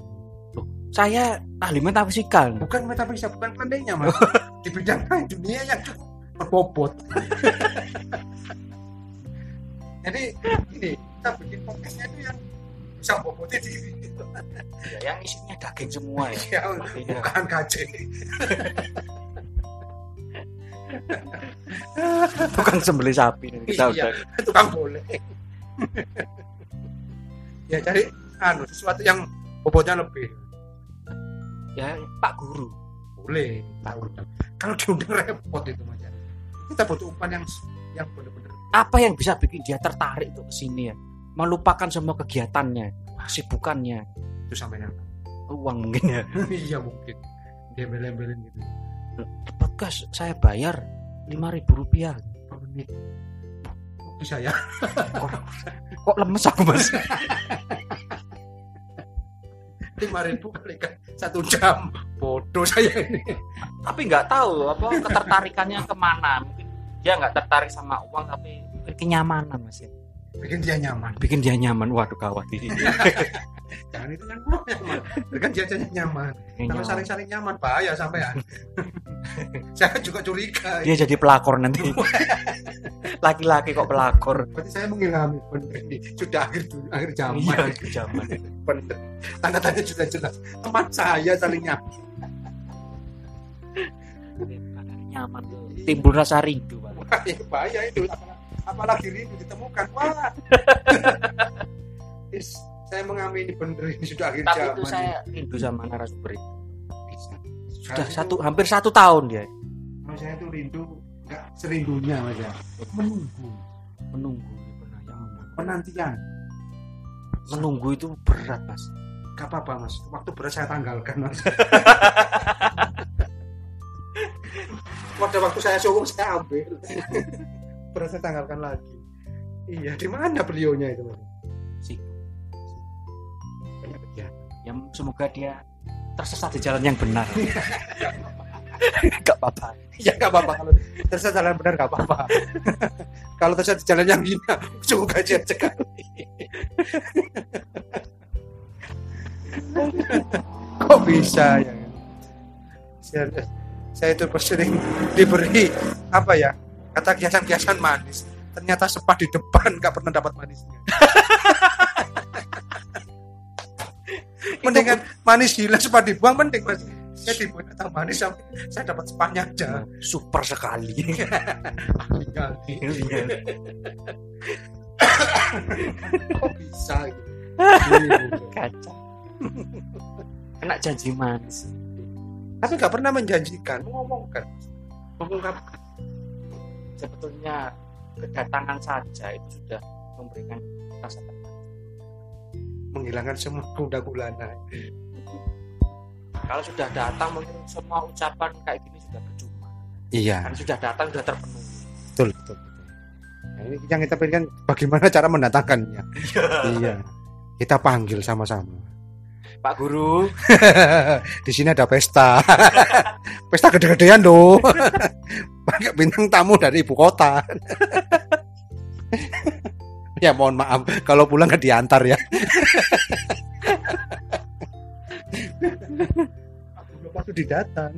Speaker 1: Saya ahli metafisikal.
Speaker 2: Bukan metafisika, bukan pandainya mas. Di bidang lain dunia yang cukup berbobot. Jadi ini kita bikin podcastnya itu yang bisa bobotnya di
Speaker 1: Iya, Yang isinya daging semua
Speaker 2: ya,
Speaker 1: ya.
Speaker 2: bukan kacang.
Speaker 1: Tukang sembelih sapi nanti kita
Speaker 2: Iya.
Speaker 1: udah.
Speaker 2: tukang boleh ya cari anu sesuatu yang bobotnya lebih
Speaker 1: Ya, Pak Guru.
Speaker 2: boleh tahu kalau diundang repot itu mas ya. kita butuh umpan yang yang benar-benar
Speaker 1: Apa yang bisa bikin dia tertarik tuh ke sini ya? Melupakan semua kegiatannya, sibukannya,
Speaker 2: itu sampai yang
Speaker 1: uang mungkin ya.
Speaker 2: iya mungkin dia belen-belen gitu
Speaker 1: Petugas saya bayar 5.000 rupiah.
Speaker 2: per menit bisa ya
Speaker 1: Kok lemes aku, Mas?
Speaker 2: lima ribu kali kan satu jam bodoh saya ini
Speaker 1: tapi nggak tahu apa ketertarikannya kemana mungkin dia nggak tertarik sama uang tapi mungkin kenyamanan mas ya
Speaker 2: bikin dia nyaman
Speaker 1: bikin dia nyaman waduh gawat ini
Speaker 2: jangan itu kan mau nyaman bikin dia jadi nyaman kalau saling-saling nyaman bahaya sampai saya juga curiga
Speaker 1: dia jadi pelakor nanti laki-laki kok pelakor
Speaker 2: Berarti saya mengilhami bener ini sudah akhir dunia, akhir zaman
Speaker 1: iya kejaman
Speaker 2: bener. Tanda-tanda sudah jelas. Teman saya saling nyaman.
Speaker 1: nyaman tuh timbul rasa rindu Pak.
Speaker 2: Ya, bahaya itu. Apalagi- Apalagi rindu ditemukan. Wah. Is, saya mengamini bener ini sudah akhir
Speaker 1: tapi
Speaker 2: zaman.
Speaker 1: itu saya rindu sama narasumber itu.
Speaker 2: sudah
Speaker 1: sudah satu hampir satu tahun dia
Speaker 2: Kalau saya itu rindu nggak serindunya mas ya. Menunggu,
Speaker 1: menunggu benar, ya ampun.
Speaker 2: penantian.
Speaker 1: menunggu itu berat mas
Speaker 2: Gak apa-apa mas. Waktu berat saya tanggalkan mas. Pada waktu saya sungguh saya ambil. berat saya tanggalkan lagi. Iya, di mana beliaunya itu mas? Iya.
Speaker 1: sibuk
Speaker 2: Banyak kegiatan.
Speaker 1: ya semoga dia tersesat di jalan yang benar gak apa-apa
Speaker 2: Ya nggak apa-apa kalau tersesat jalan benar nggak apa-apa. kalau tersesat jalan yang hina, cukup aja sekali. kok bisa ya kan? saya, saya itu sering diberi apa ya kata kiasan-kiasan manis ternyata sepah di depan nggak pernah dapat manisnya mendingan manis gila sepah dibuang mending mas saya dibuat atau manis sampai saya dapat sepahnya aja
Speaker 1: super sekali Iya.
Speaker 2: tinggal kok bisa gitu
Speaker 1: kacau kena janji manis
Speaker 2: tapi nggak pernah menjanjikan mengomongkan
Speaker 1: mengungkapkan sebetulnya kedatangan saja itu sudah memberikan rasa tenang
Speaker 2: menghilangkan semua kuda gulana
Speaker 1: kalau sudah datang mungkin semua ucapan kayak gini sudah percuma
Speaker 2: iya
Speaker 1: kan sudah datang sudah terpenuhi
Speaker 2: betul betul, betul. Nah, ini yang kita pengen bagaimana cara mendatangkannya iya kita panggil sama-sama
Speaker 1: Pak Guru
Speaker 2: di sini ada pesta pesta gede-gedean do pakai bintang tamu dari ibu kota ya mohon maaf kalau pulang nggak diantar ya waktu didatang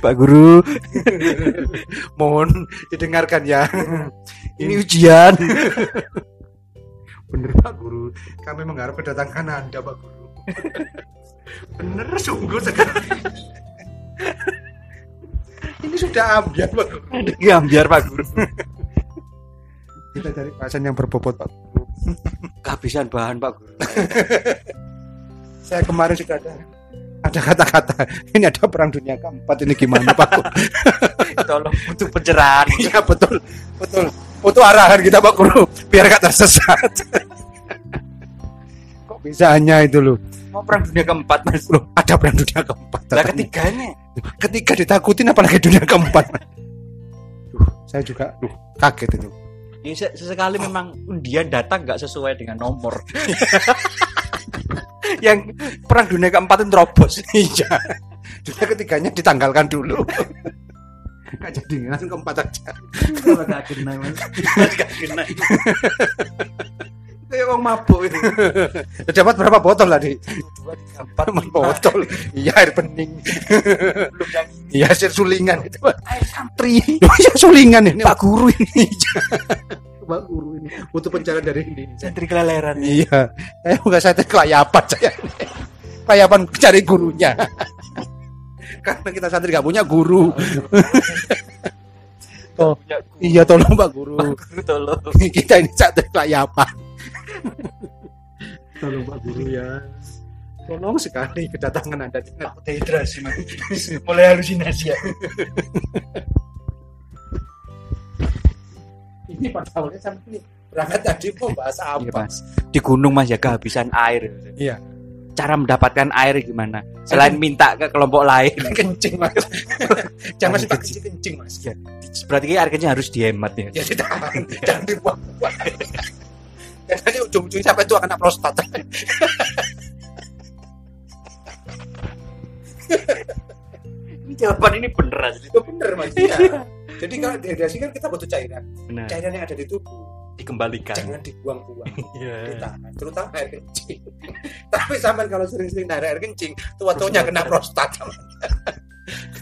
Speaker 1: Pak Guru
Speaker 2: mohon didengarkan ya ini
Speaker 1: ujian
Speaker 2: bener pak guru kami mengharap kedatangan anda pak guru bener sungguh sekali ini sudah ambiar pak guru
Speaker 1: biar Pak Guru
Speaker 2: kita cari bahasan yang berbobot pak guru
Speaker 1: kehabisan bahan Pak Guru
Speaker 2: saya kemarin sudah ada ada kata-kata ini ada perang dunia keempat ini gimana pak guru
Speaker 1: tolong butuh pencerahan
Speaker 2: iya betul betul butuh arahan kita pak guru biar gak tersesat kok bisa hanya itu loh
Speaker 1: mau perang dunia keempat Mas
Speaker 2: Loh, ada perang dunia keempat
Speaker 1: lah
Speaker 2: tetap.
Speaker 1: ketiganya
Speaker 2: ketika ditakutin apalagi dunia keempat Duh, saya juga duh, kaget itu
Speaker 1: Ya, se- sesekali memang undian datang nggak sesuai dengan nomor.
Speaker 2: yang perang dunia keempat itu terobos iya dunia ketiganya ditanggalkan dulu nggak jadi langsung keempat aja
Speaker 1: Kalau nggak kena, Mas. Nggak kena.
Speaker 2: kayak orang mabuk gitu. itu dapat berapa botol tadi
Speaker 1: Satu, dua, tiga, empat,
Speaker 2: Empat
Speaker 1: lima.
Speaker 2: botol iya air bening
Speaker 1: Belum yang ini.
Speaker 2: iya air sulingan itu Pak.
Speaker 1: Air santri.
Speaker 2: Loh, iya sulingan ini
Speaker 1: Pak Guru ini.
Speaker 2: pak guru ini butuh pencarian dari Indonesia
Speaker 1: Santri keleleran.
Speaker 2: Iya, saya bukan saya teh kelayapan saya. Kelayapan cari gurunya. Karena kita santri nggak punya guru. Toh,
Speaker 1: Ya, Guru.
Speaker 2: iya tolong Pak Guru.
Speaker 1: Pak Guru tolong.
Speaker 2: kita ini santri kelayapan. tolong Pak Guru ya. Tolong sekali kedatangan Anda jangan
Speaker 1: Dehidrasi, Mas. Mulai halusinasi ya.
Speaker 2: ini padahalnya sama ini. Berangkat tadi mau bahas
Speaker 1: Iya,
Speaker 2: apa?
Speaker 1: Mas. Di gunung Mas ya kehabisan air.
Speaker 2: Iya. kan
Speaker 1: Cara mendapatkan air gimana? Selain minta ke kelompok lain.
Speaker 2: kencing Mas. Jangan suka kencing Mas.
Speaker 1: Berarti air kencing harus dihemat ya.
Speaker 2: ya ditahan jangan dibuang dan nanti ujung-ujungnya sampai tua kena prostat
Speaker 1: Ini jawaban ini beneran.
Speaker 2: itu bener mas iya. jadi kalau dehidrasi kan kita butuh cairan
Speaker 1: Benar.
Speaker 2: cairan yang ada di tubuh
Speaker 1: Dikembalikan.
Speaker 2: jangan dibuang-buang
Speaker 1: Iya.
Speaker 2: ditahan terutama air kencing tapi sampean kalau sering-sering narik air kencing tua-tuanya kena prostat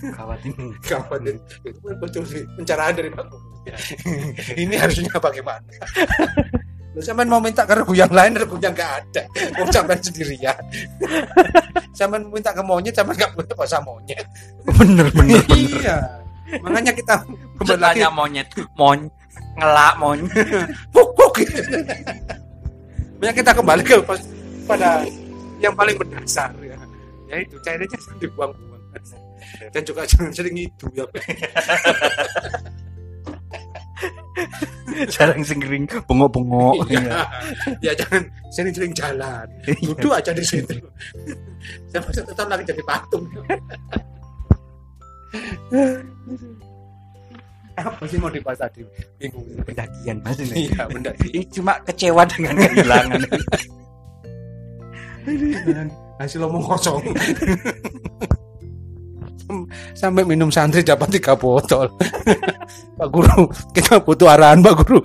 Speaker 1: Kawat ini.
Speaker 2: kapan itu- itu kan muncul di- pencerahan dari Pak Guru.
Speaker 1: Iya.
Speaker 2: ini harusnya bagaimana lu sampean mau minta ke regu yang lain regu yang gak ada mau sampean sendirian sampean minta ke monyet sampean gak punya bahasa monyet
Speaker 1: Bener bener.
Speaker 2: iya makanya kita kembali lagi
Speaker 1: Bertanya monyet, mon, ngelak mon.
Speaker 2: pupuk gitu makanya kita kembali ke pas- pada yang paling berdasar ya yaitu cairannya jangan dibuang-buang dan juga jangan sering itu ya
Speaker 1: Jarang singering, bengok-bengok.
Speaker 2: Iya. ya jangan sering-sering jalan.
Speaker 1: Iya.
Speaker 2: Duduk aja di situ. Saya masih tetap lagi jadi patung. Apa sih mau dibahas tadi? Bingung.
Speaker 1: Pendakian mas ini.
Speaker 2: Iya, benda.
Speaker 1: Ini cuma kecewa dengan kehilangan.
Speaker 2: Hasil omong kosong. Sampai minum santri dapat tiga botol. Pak Guru, kita butuh arahan Pak Guru.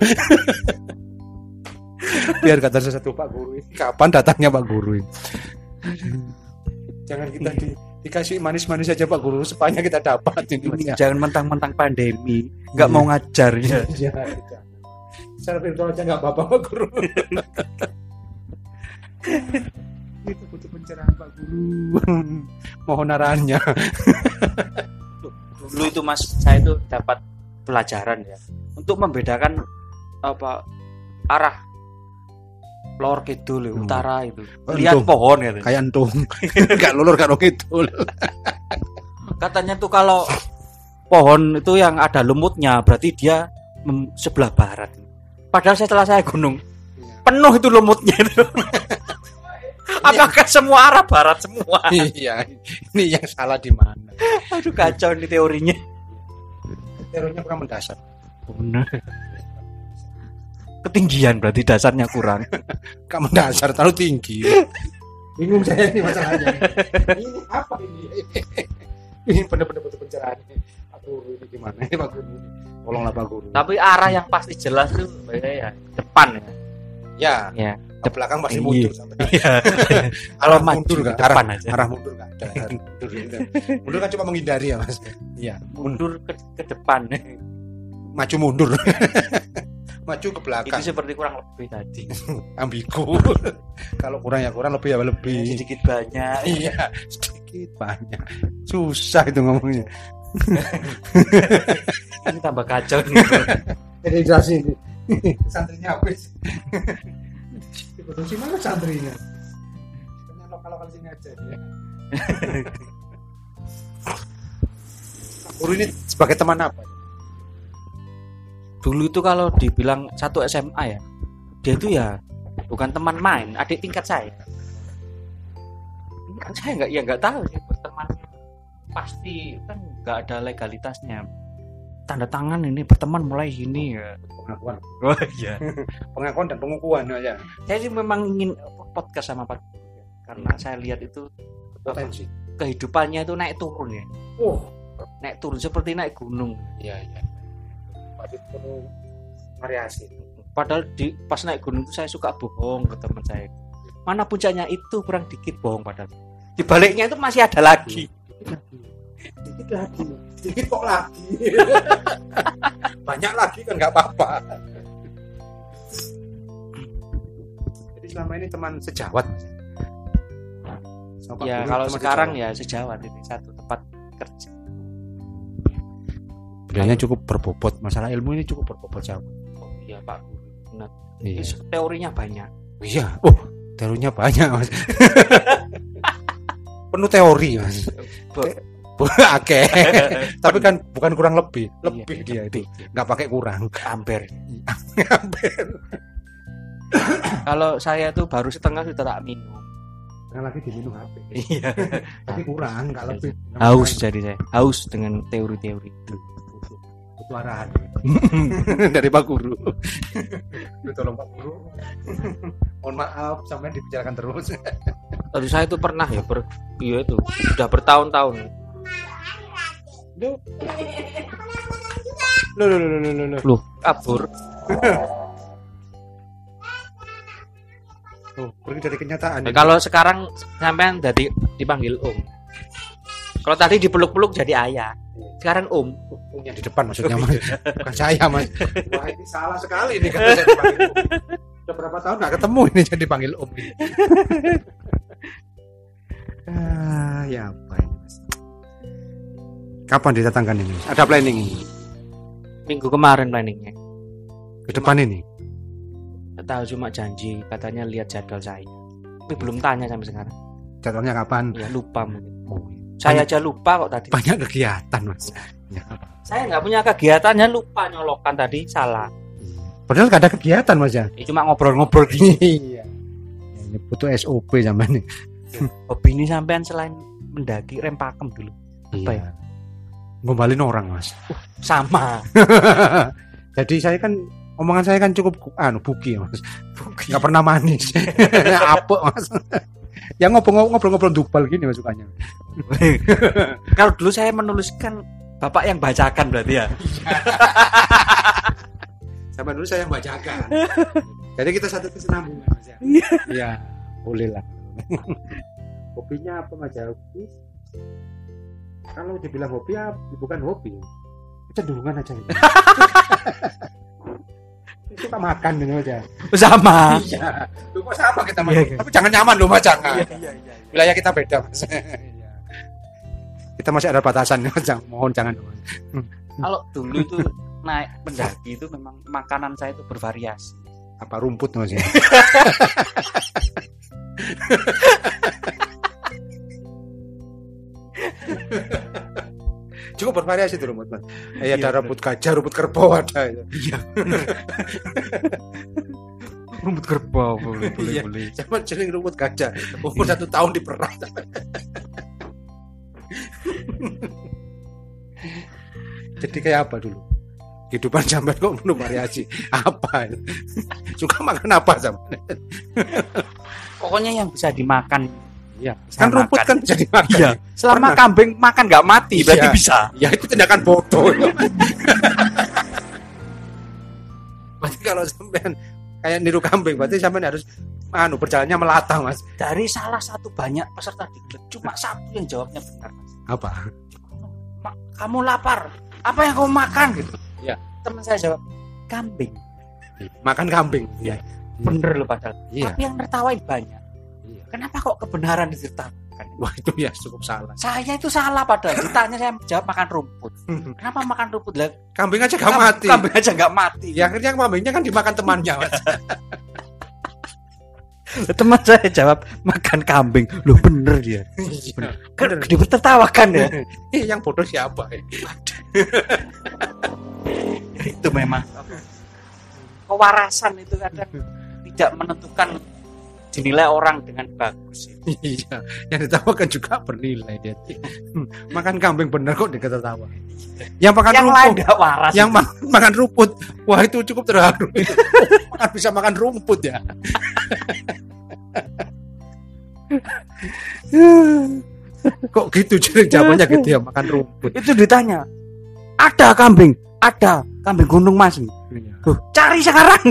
Speaker 2: Biar kata satu Pak Guru. ini. Kapan datangnya Pak Guru? ini? jangan kita di- dikasih manis-manis aja Pak Guru sepanjang kita dapat ini Mas, ya.
Speaker 1: Jangan mentang-mentang pandemi, nggak mau ngajar ya.
Speaker 2: Iya, iya. Secara virtual aja nggak apa-apa Pak Guru. itu butuh pencerahan Pak Guru. Mohon arahannya.
Speaker 1: dulu itu mas saya itu dapat pelajaran ya untuk membedakan apa arah lor kidul ya,
Speaker 2: Hmm.
Speaker 1: utara itu
Speaker 2: Oh,
Speaker 1: lihat
Speaker 2: untung.
Speaker 1: pohon gitu.
Speaker 2: Kayak antum. Enggak lulur kan oke itu.
Speaker 1: katanya tuh kalau pohon itu yang ada lumutnya berarti dia mem- sebelah barat padahal setelah saya gunung penuh itu lumutnya itu apakah semua arah barat semua
Speaker 2: Iya, ini yang salah di mana?
Speaker 1: aduh kacau nih teorinya
Speaker 2: Teorinya kurang mendasar.
Speaker 1: ketinggian berarti dasarnya kurang
Speaker 2: Enggak mendasar, terlalu tinggi. Bingung saya ini masalahnya. Ini apa ini? Ini benar-benar butuh pencerahan. Pak Guru ini gimana? Ini Pak Guru ini. Tolonglah Pak Guru.
Speaker 1: tapi arah yang pasti jelas tuh ya depan
Speaker 2: Ya,
Speaker 1: ya
Speaker 2: ke belakang pasti
Speaker 1: Iya.
Speaker 2: mundur sampai.
Speaker 1: kalau
Speaker 2: Arah
Speaker 1: maju
Speaker 2: mundur
Speaker 1: ke
Speaker 2: nggak?
Speaker 1: depan
Speaker 2: Arah-
Speaker 1: aja
Speaker 2: Arah mundur enggak ada. Arah Mundur, gitu. mundur kan cuma menghindari ya, Mas. Iya,
Speaker 1: mundur ke, ke depan
Speaker 2: maju mundur. maju ke
Speaker 1: itu
Speaker 2: belakang.
Speaker 1: seperti kurang lebih tadi
Speaker 2: Ambigu. Kalau kurang ya kurang, lebih ya lebih.
Speaker 1: sedikit banyak
Speaker 2: Iya, sedikit banyak. Susah itu ngomongnya.
Speaker 1: ini tambah kacau nih.
Speaker 2: Jadi jelasin ini. Santrinya habis. Dibutuhin mana santrinya? Kita lokal-lokal sini aja ya. Guru ini sebagai teman apa?
Speaker 1: dulu itu kalau dibilang satu SMA ya dia itu ya bukan teman main adik tingkat saya Kan saya nggak ya nggak tahu sih berteman pasti kan nggak ada legalitasnya tanda tangan ini berteman mulai gini ya
Speaker 2: Pengakuan.
Speaker 1: oh iya
Speaker 2: Pengakuan dan pengukuhan ya. aja.
Speaker 1: saya sih memang ingin podcast sama Pak Guru, ya. karena saya lihat itu apa,
Speaker 2: Potensi.
Speaker 1: kehidupannya itu naik turun ya
Speaker 2: Oh,
Speaker 1: naik turun seperti naik gunung
Speaker 2: iya iya. Pasti perlu variasi.
Speaker 1: padahal di pas naik gunung itu saya suka bohong ke teman saya mana puncaknya itu kurang dikit bohong padahal di baliknya itu masih ada lagi
Speaker 2: Sedikit Iya, lagi. Sedikit kok lagi. Banyak lagi kan nggak apa-apa. Jadi selama ini teman sejawat. Mas, ya? Sama Pak
Speaker 1: ya
Speaker 2: Guru,
Speaker 1: kalau
Speaker 2: teman
Speaker 1: sekarang
Speaker 2: sejawat.
Speaker 1: ya sejawat ini satu tempat kerja ya.
Speaker 2: Beliaunya cukup berbobot. Masalah ilmu ini cukup berbobot jauh.
Speaker 1: oh iya Pak Guru benar
Speaker 2: Iya.
Speaker 1: Ini teorinya banyak
Speaker 2: Iya. Oh, teorinya banyak, Mas. Penuh teori, Mas.
Speaker 1: Bo-
Speaker 2: Oke. Tapi kan bukan kurang lebih. Lebih
Speaker 1: Iya,
Speaker 2: dia itu. Nggak pakai kurang.
Speaker 1: amper
Speaker 2: Hampir.
Speaker 1: kalau saya tuh baru setengah sudah tak minum
Speaker 2: Karena lagi diminum HP.
Speaker 1: iya
Speaker 2: Tapi kurang, nggak lebih.
Speaker 1: Nah, haus jadi saya haus dengan teori-teori itu
Speaker 2: butuh butuh arahan dari Pak Guru. Tolong Pak Guru. Mohon maaf, sampai dibicarakan terus.
Speaker 1: Aduh saya itu pernah ya ber, iya itu sudah bertahun-tahun
Speaker 2: Loh, loh, loh, loh, loh, loh.
Speaker 1: loh kabur
Speaker 2: Tuh, pergi dari kenyataan.
Speaker 1: Nah, kalau sekarang sampean jadi dipanggil om kalau tadi dipeluk-peluk jadi ayah sekarang om
Speaker 2: punya di depan maksudnya mas, bukan saya mas. Wah ini salah sekali nih kata saya dipanggil Om. Udah berapa tahun nggak ketemu ini jadi dipanggil Om. ini. ah, ya apa ini mas? Kapan didatangkan ini? Mas? Ada planning ini?
Speaker 1: minggu kemarin planningnya
Speaker 2: Ke depan ini?
Speaker 1: Nggak tahu cuma janji katanya lihat jadwal saya tapi belum tanya sampai sekarang
Speaker 2: Jadwalnya kapan?
Speaker 1: ya lupa mungkin
Speaker 2: Oh,
Speaker 1: saya aja lupa kok tadi
Speaker 2: banyak kegiatan mas Ya.
Speaker 1: saya nggak punya kegiatannya lupa nyolokan tadi salah
Speaker 2: padahal gak ada kegiatan mas ya
Speaker 1: Ya, cuma ngobrol-ngobrol gini
Speaker 2: iya Ya, ini butuh SOP zaman ini
Speaker 1: hobi ini sampean selain mendaki rem pakem dulu Apa ya?
Speaker 2: ngembalin orang mas
Speaker 1: sama
Speaker 2: jadi saya kan omongan saya kan cukup ku- anu buki ya, mas nggak pernah manis apa mas ya ngobrol-ngobrol dupal gini mas sukanya
Speaker 1: kalau dulu saya menuliskan bapak yang bacakan berarti ya
Speaker 2: sama dulu saya bacakan jadi kita satu kesenambungan mas ya iya boleh lah
Speaker 3: hobinya apa mas ya hobi kalau dibilang hobi ya bukan hobi kecenderungan aja itu suka makan gitu aja
Speaker 1: sama
Speaker 3: iya
Speaker 2: Lu ya. kok sama kita mas?
Speaker 1: Iya, iya.
Speaker 2: Tapi jangan nyaman loh mas, jangan.
Speaker 1: iya iya
Speaker 2: Wilayah kita beda mas. kita masih ada batasan mas, jangan, mohon jangan.
Speaker 1: kalau dulu itu naik pendaki itu memang makanan saya itu bervariasi
Speaker 2: Apa rumput mas? ya? Cukup bervariasi dulu mas. Ya,
Speaker 1: Iya,
Speaker 2: ada rumput gajah, rumput kerbau ada. ya.
Speaker 1: rumput kerbau boleh
Speaker 2: boleh, Iya, Zaman jeling rumput gajah, umur satu tahun diperah. Jadi kayak apa dulu? Kehidupan zaman kok penuh variasi. Apa? ini? Suka makan apa zaman?
Speaker 1: pokoknya yang bisa dimakan
Speaker 2: Iya.
Speaker 1: Saya
Speaker 2: Kan rumput
Speaker 1: makan.
Speaker 2: kan bisa dimakan.
Speaker 1: Iya. selama
Speaker 2: Pernah.
Speaker 1: kambing makan nggak mati berarti
Speaker 2: Iya.
Speaker 1: bisa
Speaker 2: Ya itu tindakan bodoh. berarti kalau sampean kayak niru kambing, berarti sampean harus anu berjalannya melata, Mas.
Speaker 1: dari salah satu banyak peserta digelar cuma satu yang jawabnya benar Mas.
Speaker 2: Apa?
Speaker 1: Ma- kamu lapar apa yang kamu makan gitu
Speaker 2: Iya.
Speaker 1: teman saya jawab kambing
Speaker 2: Makan kambing.
Speaker 1: Iya. bener loh padahal
Speaker 2: Iya.
Speaker 1: tapi yang tertawain banyak
Speaker 2: Iya.
Speaker 1: kenapa kok kebenaran ditertawakan
Speaker 2: Wah itu ya cukup salah.
Speaker 1: saya itu salah padahal ditanya saya jawab makan rumput kenapa makan rumput lah
Speaker 2: Kambing aja gak mati.
Speaker 1: kambing aja nggak mati
Speaker 2: Ya akhirnya kambingnya kan dimakan temannya. Mas.
Speaker 1: teman saya jawab makan kambing lo bener dia
Speaker 2: Iya.
Speaker 1: kan ditertawakan ya
Speaker 2: Eh, yang bodoh siapa? eh?
Speaker 1: itu memang kewarasan itu kadang tidak menentukan dinilai orang dengan bagus
Speaker 2: Iya. Yang ditawakan juga bernilai dia. Makan kambing bener kok diketawa. Yang makan
Speaker 1: yang lain
Speaker 2: rumput.
Speaker 1: nggak Ya, waras
Speaker 2: Yang ma- makan rumput. Wah itu cukup terharu. makan bisa makan rumput ya. kok gitu jadi jawabannya gitu ya makan rumput.
Speaker 1: itu ditanya ada kambing ada kambing gunung mas Loh, cari sekarang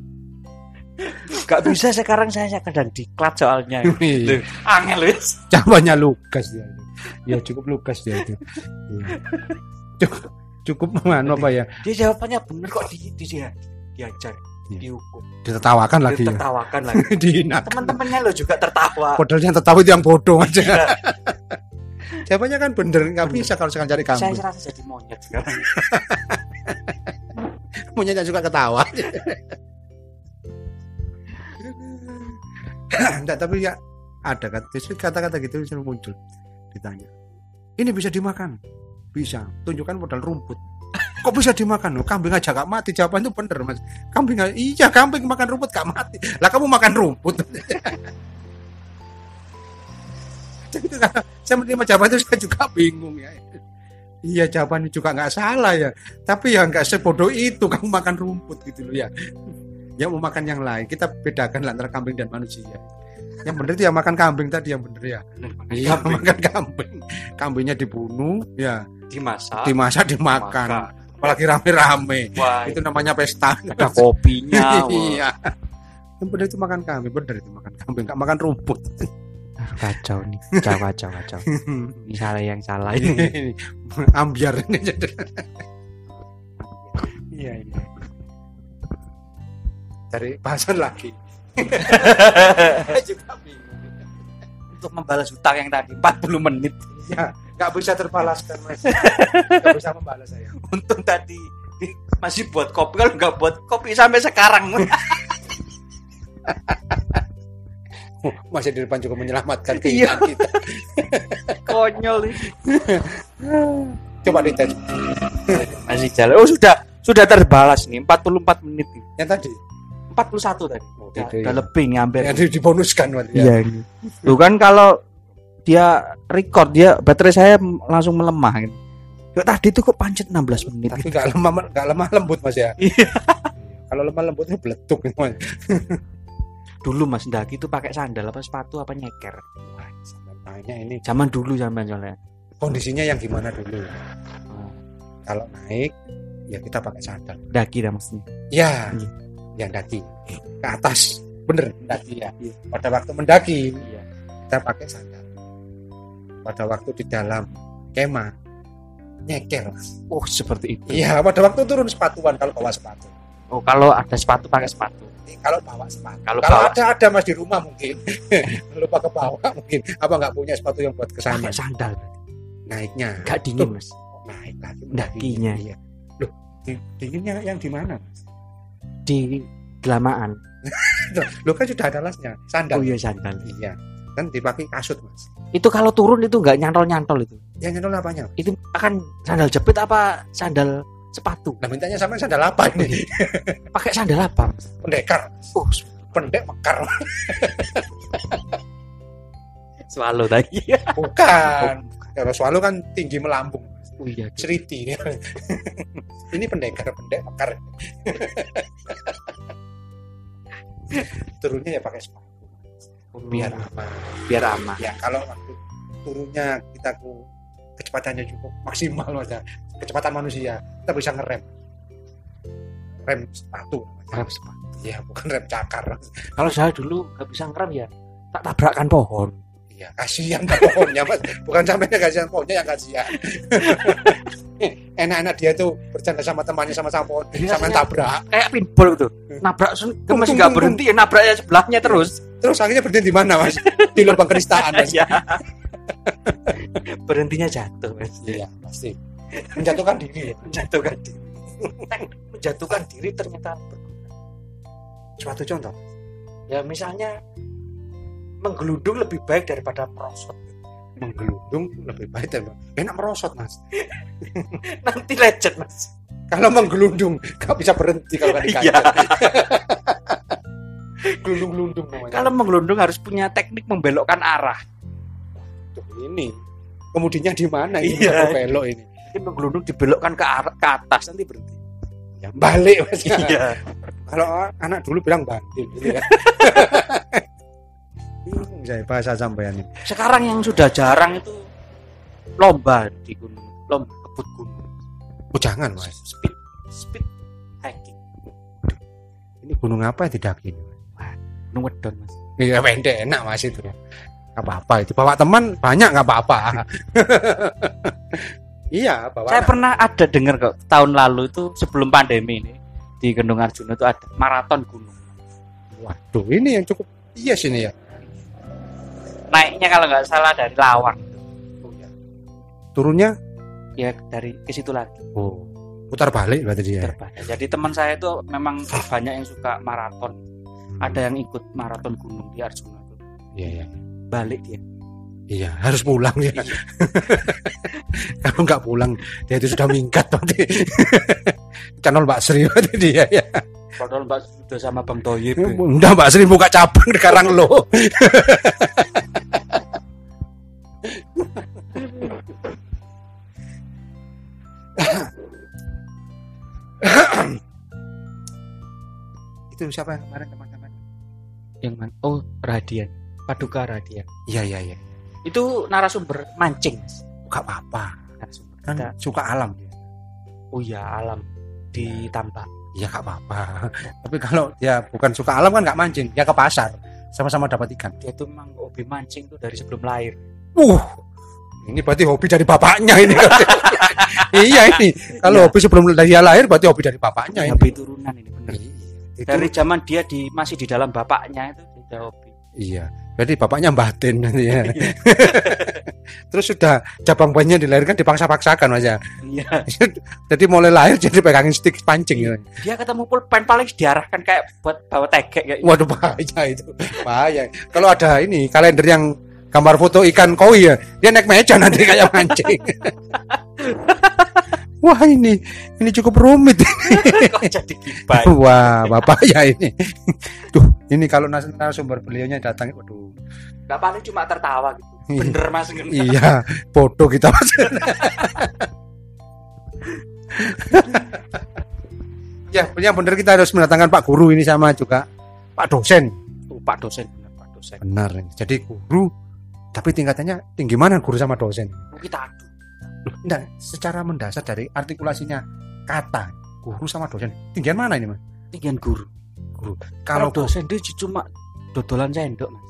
Speaker 1: nggak bisa sekarang saya kadang diklat soalnya
Speaker 2: Iya.
Speaker 1: angel wis
Speaker 2: jawabannya Lukas dia ya cukup Lukas dia itu Iya. cukup cukup anu apa ya
Speaker 1: dia jawabannya bener kok di, di, dia diajar
Speaker 2: Iya.
Speaker 1: dihukum
Speaker 2: ditertawakan lagi ya
Speaker 1: ditertawakan lagi
Speaker 2: dihina
Speaker 1: teman-temannya lo juga tertawa
Speaker 2: padahal yang tertawa itu yang bodoh
Speaker 1: Iya.
Speaker 2: aja jawabannya kan bener nggak bisa kalau sekarang cari
Speaker 1: saya
Speaker 2: kambing
Speaker 1: serasa jadi monyet sekarang
Speaker 2: punya yang suka ketawa Enggak, tapi ya ada kata justru kata-kata gitu selalu muncul ditanya ini bisa dimakan bisa tunjukkan modal rumput kok bisa dimakan loh kambing aja gak mati jawaban itu bener mas kambing aja- iya kambing makan rumput gak mati lah kamu makan rumput Jadi kalau saya menerima jawaban itu saya juga bingung ya iya jawabannya juga nggak salah ya tapi ya nggak sebodoh itu kamu makan rumput gitu loh ya ya mau makan yang lain kita bedakan lah antara kambing dan manusia yang bener itu ya makan kambing tadi yang bener ya Iya, makan kambing kambingnya dibunuh ya
Speaker 1: dimasak
Speaker 2: dimasak Iya. dimakan apalagi rame-rame
Speaker 1: Wah,
Speaker 2: itu namanya pesta
Speaker 1: ada kopinya
Speaker 2: iya yang bener itu makan kambing bener itu makan kambing nggak makan rumput
Speaker 1: kacau nih kacau kacau kacau ini salah yang
Speaker 2: Ah,
Speaker 1: salah
Speaker 2: ini ambiar ini jadi iya iya dari bahasan lagi juga bingung
Speaker 1: untuk membalas hutang yang tadi 40 menit
Speaker 2: ya nggak bisa terbalaskan mas nggak bisa membalas saya
Speaker 1: untung tadi di- masih buat kopi kalau nggak buat kopi sampai sekarang
Speaker 2: masih di depan juga menyelamatkan
Speaker 1: Iya.
Speaker 2: keinginan kita
Speaker 1: konyol ini.
Speaker 2: coba dites
Speaker 1: masih jalan oh sudah sudah terbalas nih 44 menit nih.
Speaker 2: yang tadi
Speaker 1: 41 tadi udah,
Speaker 2: gitu ya.
Speaker 1: udah lebih nih, hampir
Speaker 2: yang di- dibonuskan berarti ya.
Speaker 1: ini Iya. Tuh kan kalau dia record dia baterai saya m- langsung melemah gitu. Yuk, tadi tuh kok pancet 16 menit
Speaker 2: tapi nggak lemah nggak lemah lembut mas ya
Speaker 1: Iya.
Speaker 2: kalau lemah lembut itu beletuk mas
Speaker 1: dulu mas Daki itu pakai sandal apa sepatu apa nyeker
Speaker 2: Wah, sangat banyak Nah, ini
Speaker 1: zaman dulu zaman soalnya
Speaker 2: kondisinya yang gimana dulu
Speaker 1: Hmm.
Speaker 2: kalau naik ya kita pakai sandal
Speaker 1: Daki dah maksudnya
Speaker 2: ya
Speaker 1: Iya.
Speaker 2: yang daki ke atas bener mendaki ya
Speaker 1: Iya.
Speaker 2: pada waktu mendaki
Speaker 1: iya
Speaker 2: kita pakai sandal pada waktu di dalam kemah nyeker
Speaker 1: oh seperti itu
Speaker 2: iya pada waktu turun sepatuan kalau bawa sepatu
Speaker 1: oh kalau ada sepatu pakai sepatu
Speaker 2: Eh, kalau bawa sepatu
Speaker 1: Kalau
Speaker 2: kalau,
Speaker 1: bawa
Speaker 2: ada ada mas di rumah mungkin lupa ke bawah mungkin apa nggak punya sepatu yang buat kesana
Speaker 1: pakai sandal
Speaker 2: naiknya
Speaker 1: nggak dingin mas
Speaker 2: naik lagi
Speaker 1: Dakinya.
Speaker 2: iya loh di- dinginnya yang di mana mas
Speaker 1: di gelamaan
Speaker 2: lo kan sudah ada lasnya
Speaker 1: oh
Speaker 2: sandal
Speaker 1: iya sandal
Speaker 2: iya kan dipakai kasut mas
Speaker 1: itu kalau turun itu nggak nyantol nyantol itu
Speaker 2: yang nyantol apanya
Speaker 1: itu akan sandal jepit apa sandal sepatu
Speaker 2: nah mintanya sama sandal apa ini
Speaker 1: pakai sandal apa Mas?
Speaker 2: pendekar
Speaker 1: oh
Speaker 2: pendek mekar
Speaker 1: swallow tadi
Speaker 2: bukan kalau swallow kan tinggi melambung
Speaker 1: oh iya
Speaker 2: ceriti ini pendekar pendek mekar turunnya ya pakai sepatu
Speaker 1: Oh,
Speaker 2: biar aman
Speaker 1: biar aman
Speaker 2: ya kalau waktu turunnya kita ke kecepatannya cukup maksimal Mas, ya. kecepatan manusia kita bisa ngerem rem sepatu
Speaker 1: Ngerem sepatu.
Speaker 2: ya bukan rem cakar Mas.
Speaker 1: kalau saya dulu nggak bisa ngerem ya tak tabrakkan pohon
Speaker 2: iya kasihan ke pohonnya mas bukan sampainya kasihan pohonnya yang kasihan Eh, enak-enak dia tuh bercanda sama temannya sama sama pohon
Speaker 1: Iya,
Speaker 2: sama
Speaker 1: iya.
Speaker 2: tabrak
Speaker 1: kayak pinball tuh nabrak sen- kan
Speaker 2: tung,
Speaker 1: masih nggak
Speaker 2: tung,
Speaker 1: berhenti ya nabraknya sebelahnya terus
Speaker 2: terus akhirnya berhenti di mana mas di lubang keristaan mas
Speaker 1: ya berhentinya jatuh mas
Speaker 2: iya pasti menjatuhkan diri ya.
Speaker 1: menjatuhkan diri menjatuhkan diri ternyata berguna.
Speaker 2: suatu contoh
Speaker 1: ya misalnya menggelundung lebih baik daripada merosot
Speaker 2: menggelundung lebih baik daripada- enak merosot mas
Speaker 1: nanti lecet mas
Speaker 2: kalau menggelundung nggak bisa berhenti kalau nggak
Speaker 1: Iya.
Speaker 2: dikancing gelundung-gelundung namanya
Speaker 1: kalau menggelundung harus punya teknik membelokkan arah
Speaker 2: Tuh, ini kemudiannya di mana ini
Speaker 1: Iya.
Speaker 2: kalau belok ini
Speaker 1: jadi menggelundung dibelokkan ke arah ke atas nanti berhenti
Speaker 2: ya, balik mas
Speaker 1: Iya.
Speaker 2: kalau anak dulu bilang bantil gitu ya bingung saya bahasa sampean ini
Speaker 1: sekarang yang sudah jarang itu lomba di gunung lomba kebut gunung
Speaker 2: oh jangan mas
Speaker 1: speed speed hiking
Speaker 2: ini gunung apa yang didaki ini, Mas?
Speaker 1: gunung wedon mas
Speaker 2: iya pendek enak mas itu ya? nggak apa-apa itu bawa teman banyak nggak apa-apa iya bawa
Speaker 1: saya
Speaker 2: anak.
Speaker 1: pernah ada dengar kok tahun lalu itu sebelum pandemi ini di Gendung Arjuna itu ada maraton gunung
Speaker 2: waduh ini yang cukup iya sini ya
Speaker 1: naiknya kalau nggak salah dari Lawang
Speaker 2: turunnya
Speaker 1: ya dari ke situ lagi
Speaker 2: Oh, putar balik berarti dia. ya?
Speaker 1: Terbatas. jadi teman saya itu memang banyak yang suka maraton ada yang ikut maraton gunung di Arjuna itu
Speaker 2: Iya, iya.
Speaker 1: balik dia
Speaker 2: Iya, harus pulang dia. Kalau nggak pulang, dia itu sudah minggat nanti. Channel Mbak Sri berarti dia ya.
Speaker 1: padahal Mbak sudah sama Bang Toyib ya.
Speaker 2: Udah Iya, Mbak Sri buka cabang di Karang lo. itu siapa yang kemarin teman-teman?
Speaker 1: yang mana? oh Radian Paduka Radian
Speaker 2: Iya iya iya.
Speaker 1: itu narasumber mancing Mas.
Speaker 2: Gak apa-apa.
Speaker 1: narasumber
Speaker 2: Kan
Speaker 1: kita
Speaker 2: suka alam dia.
Speaker 1: oh ya alam ditambah
Speaker 2: ya nggak apa-apa tapi kalau dia bukan suka alam kan nggak mancing dia ke pasar sama-sama dapat ikan
Speaker 1: dia tuh memang hobi mancing tuh dari sebelum lahir
Speaker 2: uh ini berarti hobi dari bapaknya ini iya ini kalau
Speaker 1: Iya.
Speaker 2: hobi sebelum dia lahir berarti hobi dari bapaknya ini
Speaker 1: hobi turunan ini bener
Speaker 2: Iya,
Speaker 1: dari
Speaker 2: dari
Speaker 1: zaman dia di masih di dalam bapaknya itu sudah hobi
Speaker 2: iya berarti bapaknya batin nanti
Speaker 1: Iya.
Speaker 2: ya terus sudah cabang bayinya dilahirkan dipaksa-paksakan aja
Speaker 1: iya
Speaker 2: jadi mulai lahir jadi pegangin stick pancing ya.
Speaker 1: dia ketemu pulpen paling diarahkan kayak buat bawa tegek kayak gitu.
Speaker 2: Waduh bahaya itu. Bahaya. Kalau ada ini kalender yang gambar foto ikan koi ya, dia naik meja nanti kayak mancing. Wah ini ini cukup rumit.
Speaker 1: kok jadi gibah
Speaker 2: Wah bapak ya ini. Tuh ini kalau nas- narasumber beliaunya datang, waduh.
Speaker 1: nggak paling cuma tertawa gitu bener mas
Speaker 2: Iya bodoh kita mas. ya yang benar kita harus mendatangkan Pak Guru ini sama juga Pak dosen.
Speaker 1: Tuh, Oh, pak dosen bener pak dosen
Speaker 2: Benar. Jadi guru tapi tingkatannya tinggi mana guru sama dosen?
Speaker 1: Tuh, kita adu
Speaker 2: Enggak, secara mendasar dari artikulasinya kata guru sama dosen. Tinggian mana ini, Mas?
Speaker 1: tinggian guru
Speaker 2: Guru.
Speaker 1: kalau
Speaker 2: Kalau
Speaker 1: dosen dia cuma dodolan sendok mas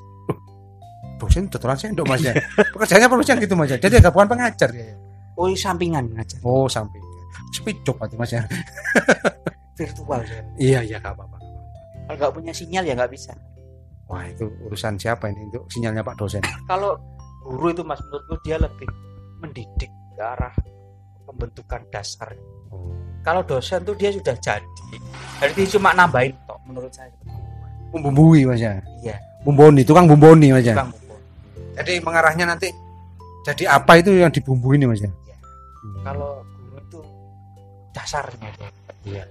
Speaker 2: dosen tutoran sendok mas ya pekerjaannya perusahaan gitu mas ya jadi agak bukan pengajar ya
Speaker 1: Oh, ini sampingan ngajar
Speaker 2: oh sampai speed job berarti mas ya
Speaker 1: virtual. saya.
Speaker 2: iya iya gak apa-apa
Speaker 1: Kalau nggak punya sinyal ya nggak bisa.
Speaker 2: wah itu urusan siapa ini untuk sinyalnya pak dosen
Speaker 1: Kalau guru itu mas menurutku dia lebih mendidik ke arah pembentukan dasar.
Speaker 2: Oh.
Speaker 1: Kalau dosen tuh dia sudah jadi. Berarti cuma nambahin tok menurut saya.
Speaker 2: membumbui mas ya
Speaker 1: Iya,
Speaker 2: bumboni tukang bumboni mas ya
Speaker 1: Bang. Bung.
Speaker 2: jadi mengarahnya nanti jadi apa itu yang dibumbui ini mas ya
Speaker 1: Kalau guru itu dasarnya dia. Iya,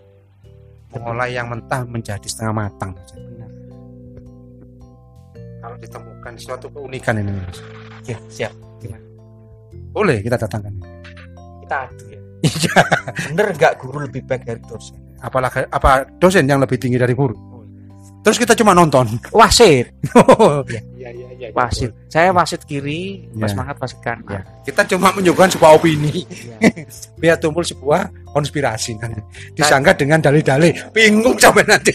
Speaker 2: mulai yang mentah menjadi setengah matang Mas. ya?
Speaker 1: Benar.
Speaker 2: kalau ditemukan suatu keunikan ini Mas.
Speaker 1: Ya, siap.
Speaker 2: boleh kita datangkan
Speaker 1: Kita adu ya. Bener nggak guru lebih baik dari dosen?
Speaker 2: apalagi apa dosen yang lebih tinggi dari guru terus kita cuma nonton
Speaker 1: Wasit,
Speaker 2: iya iya iya
Speaker 1: wasit. Saya wasit kiri, Mas
Speaker 2: Ya.
Speaker 1: Mangat wasit kanan.
Speaker 2: kita cuma menyuguhkan sebuah opini
Speaker 1: Iya.
Speaker 2: biar tumpul sebuah konspirasi
Speaker 1: Nah.
Speaker 2: nanti disangka dengan dalih-dalih bingung sampai nanti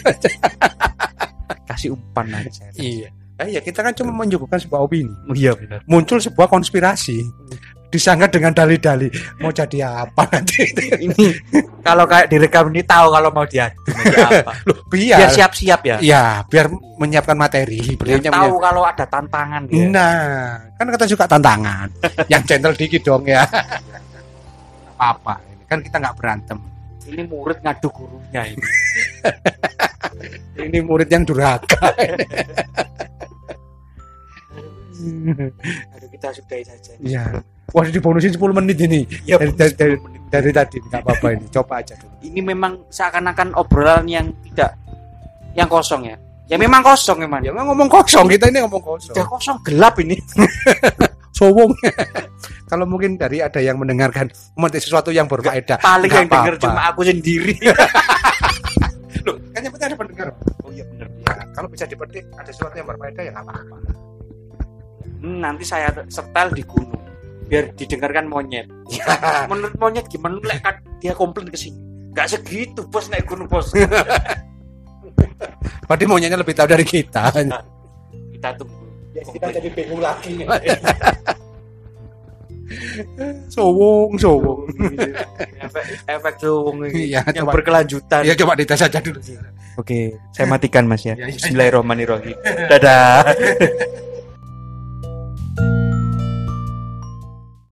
Speaker 1: Kasih umpan aja.
Speaker 2: iya Eh, iya kita kan cuma menyuguhkan sebuah opini
Speaker 1: Iya benar.
Speaker 2: muncul sebuah konspirasi disangka dengan dalih-dalih mau jadi apa nanti
Speaker 1: Ini kalau kayak direkam ini tahu kalau mau diadu nanti apa.
Speaker 2: Loh,
Speaker 1: Biar
Speaker 2: biar
Speaker 1: siap-siap ya.
Speaker 2: ya biar menyiapkan materi
Speaker 1: Biar
Speaker 2: beliaunya
Speaker 1: tahu Iya. kalau ada tantangan ya.
Speaker 2: menyiap-
Speaker 1: dia.
Speaker 2: nah kan kita suka tantangan yang gentle dikit dong ya apa apa kan kita nggak berantem
Speaker 1: Ini murid ngadu gurunya ini.
Speaker 2: ini murid yang durhaka
Speaker 1: Aduh kita sudahi saja.
Speaker 2: ya wah dibonusin 10 menit ini
Speaker 1: Ya,
Speaker 2: dari, dari, dari, dari tadi nggak apa-apa ini coba aja dulu
Speaker 1: Ini memang seakan-akan obrolan yang tidak yang kosong ya. Ya memang kosong emang.
Speaker 2: ya nggak ngomong kosong kita ini ngomong kosong
Speaker 1: Sudah kosong gelap ini.
Speaker 2: sowong kalau mungkin dari ada yang mendengarkan memetik sesuatu yang berfaedah
Speaker 1: Paling
Speaker 2: nggak
Speaker 1: yang denger
Speaker 2: apa-apa.
Speaker 1: cuma aku sendiri.
Speaker 2: Loh, kan yang penting ada pendengar
Speaker 1: Oh iya benar.
Speaker 2: Nah, kalau bisa dipetik ada sesuatu yang berfaedah ya nggak apa-apa
Speaker 1: Hmm, nanti saya setel di gunung biar didengarkan monyet. Menurut monyet gimana lek kan dia komplain ke sini? Gak segitu bos naik gunung bos.
Speaker 2: berarti monyetnya lebih tahu dari kita
Speaker 1: Kita tunggu.
Speaker 2: Ya, kita
Speaker 1: komplain.
Speaker 2: jadi bingung lagi sowong sowong
Speaker 1: Iya. efek efek cowong ini
Speaker 2: Iya,
Speaker 1: yang
Speaker 2: coba.
Speaker 1: berkelanjutan.
Speaker 2: ya coba dites aja dulu
Speaker 1: Oke, saya matikan Mas ya.
Speaker 2: Iya, iya.
Speaker 1: Bismillahirrahmanirrahim. Dadah.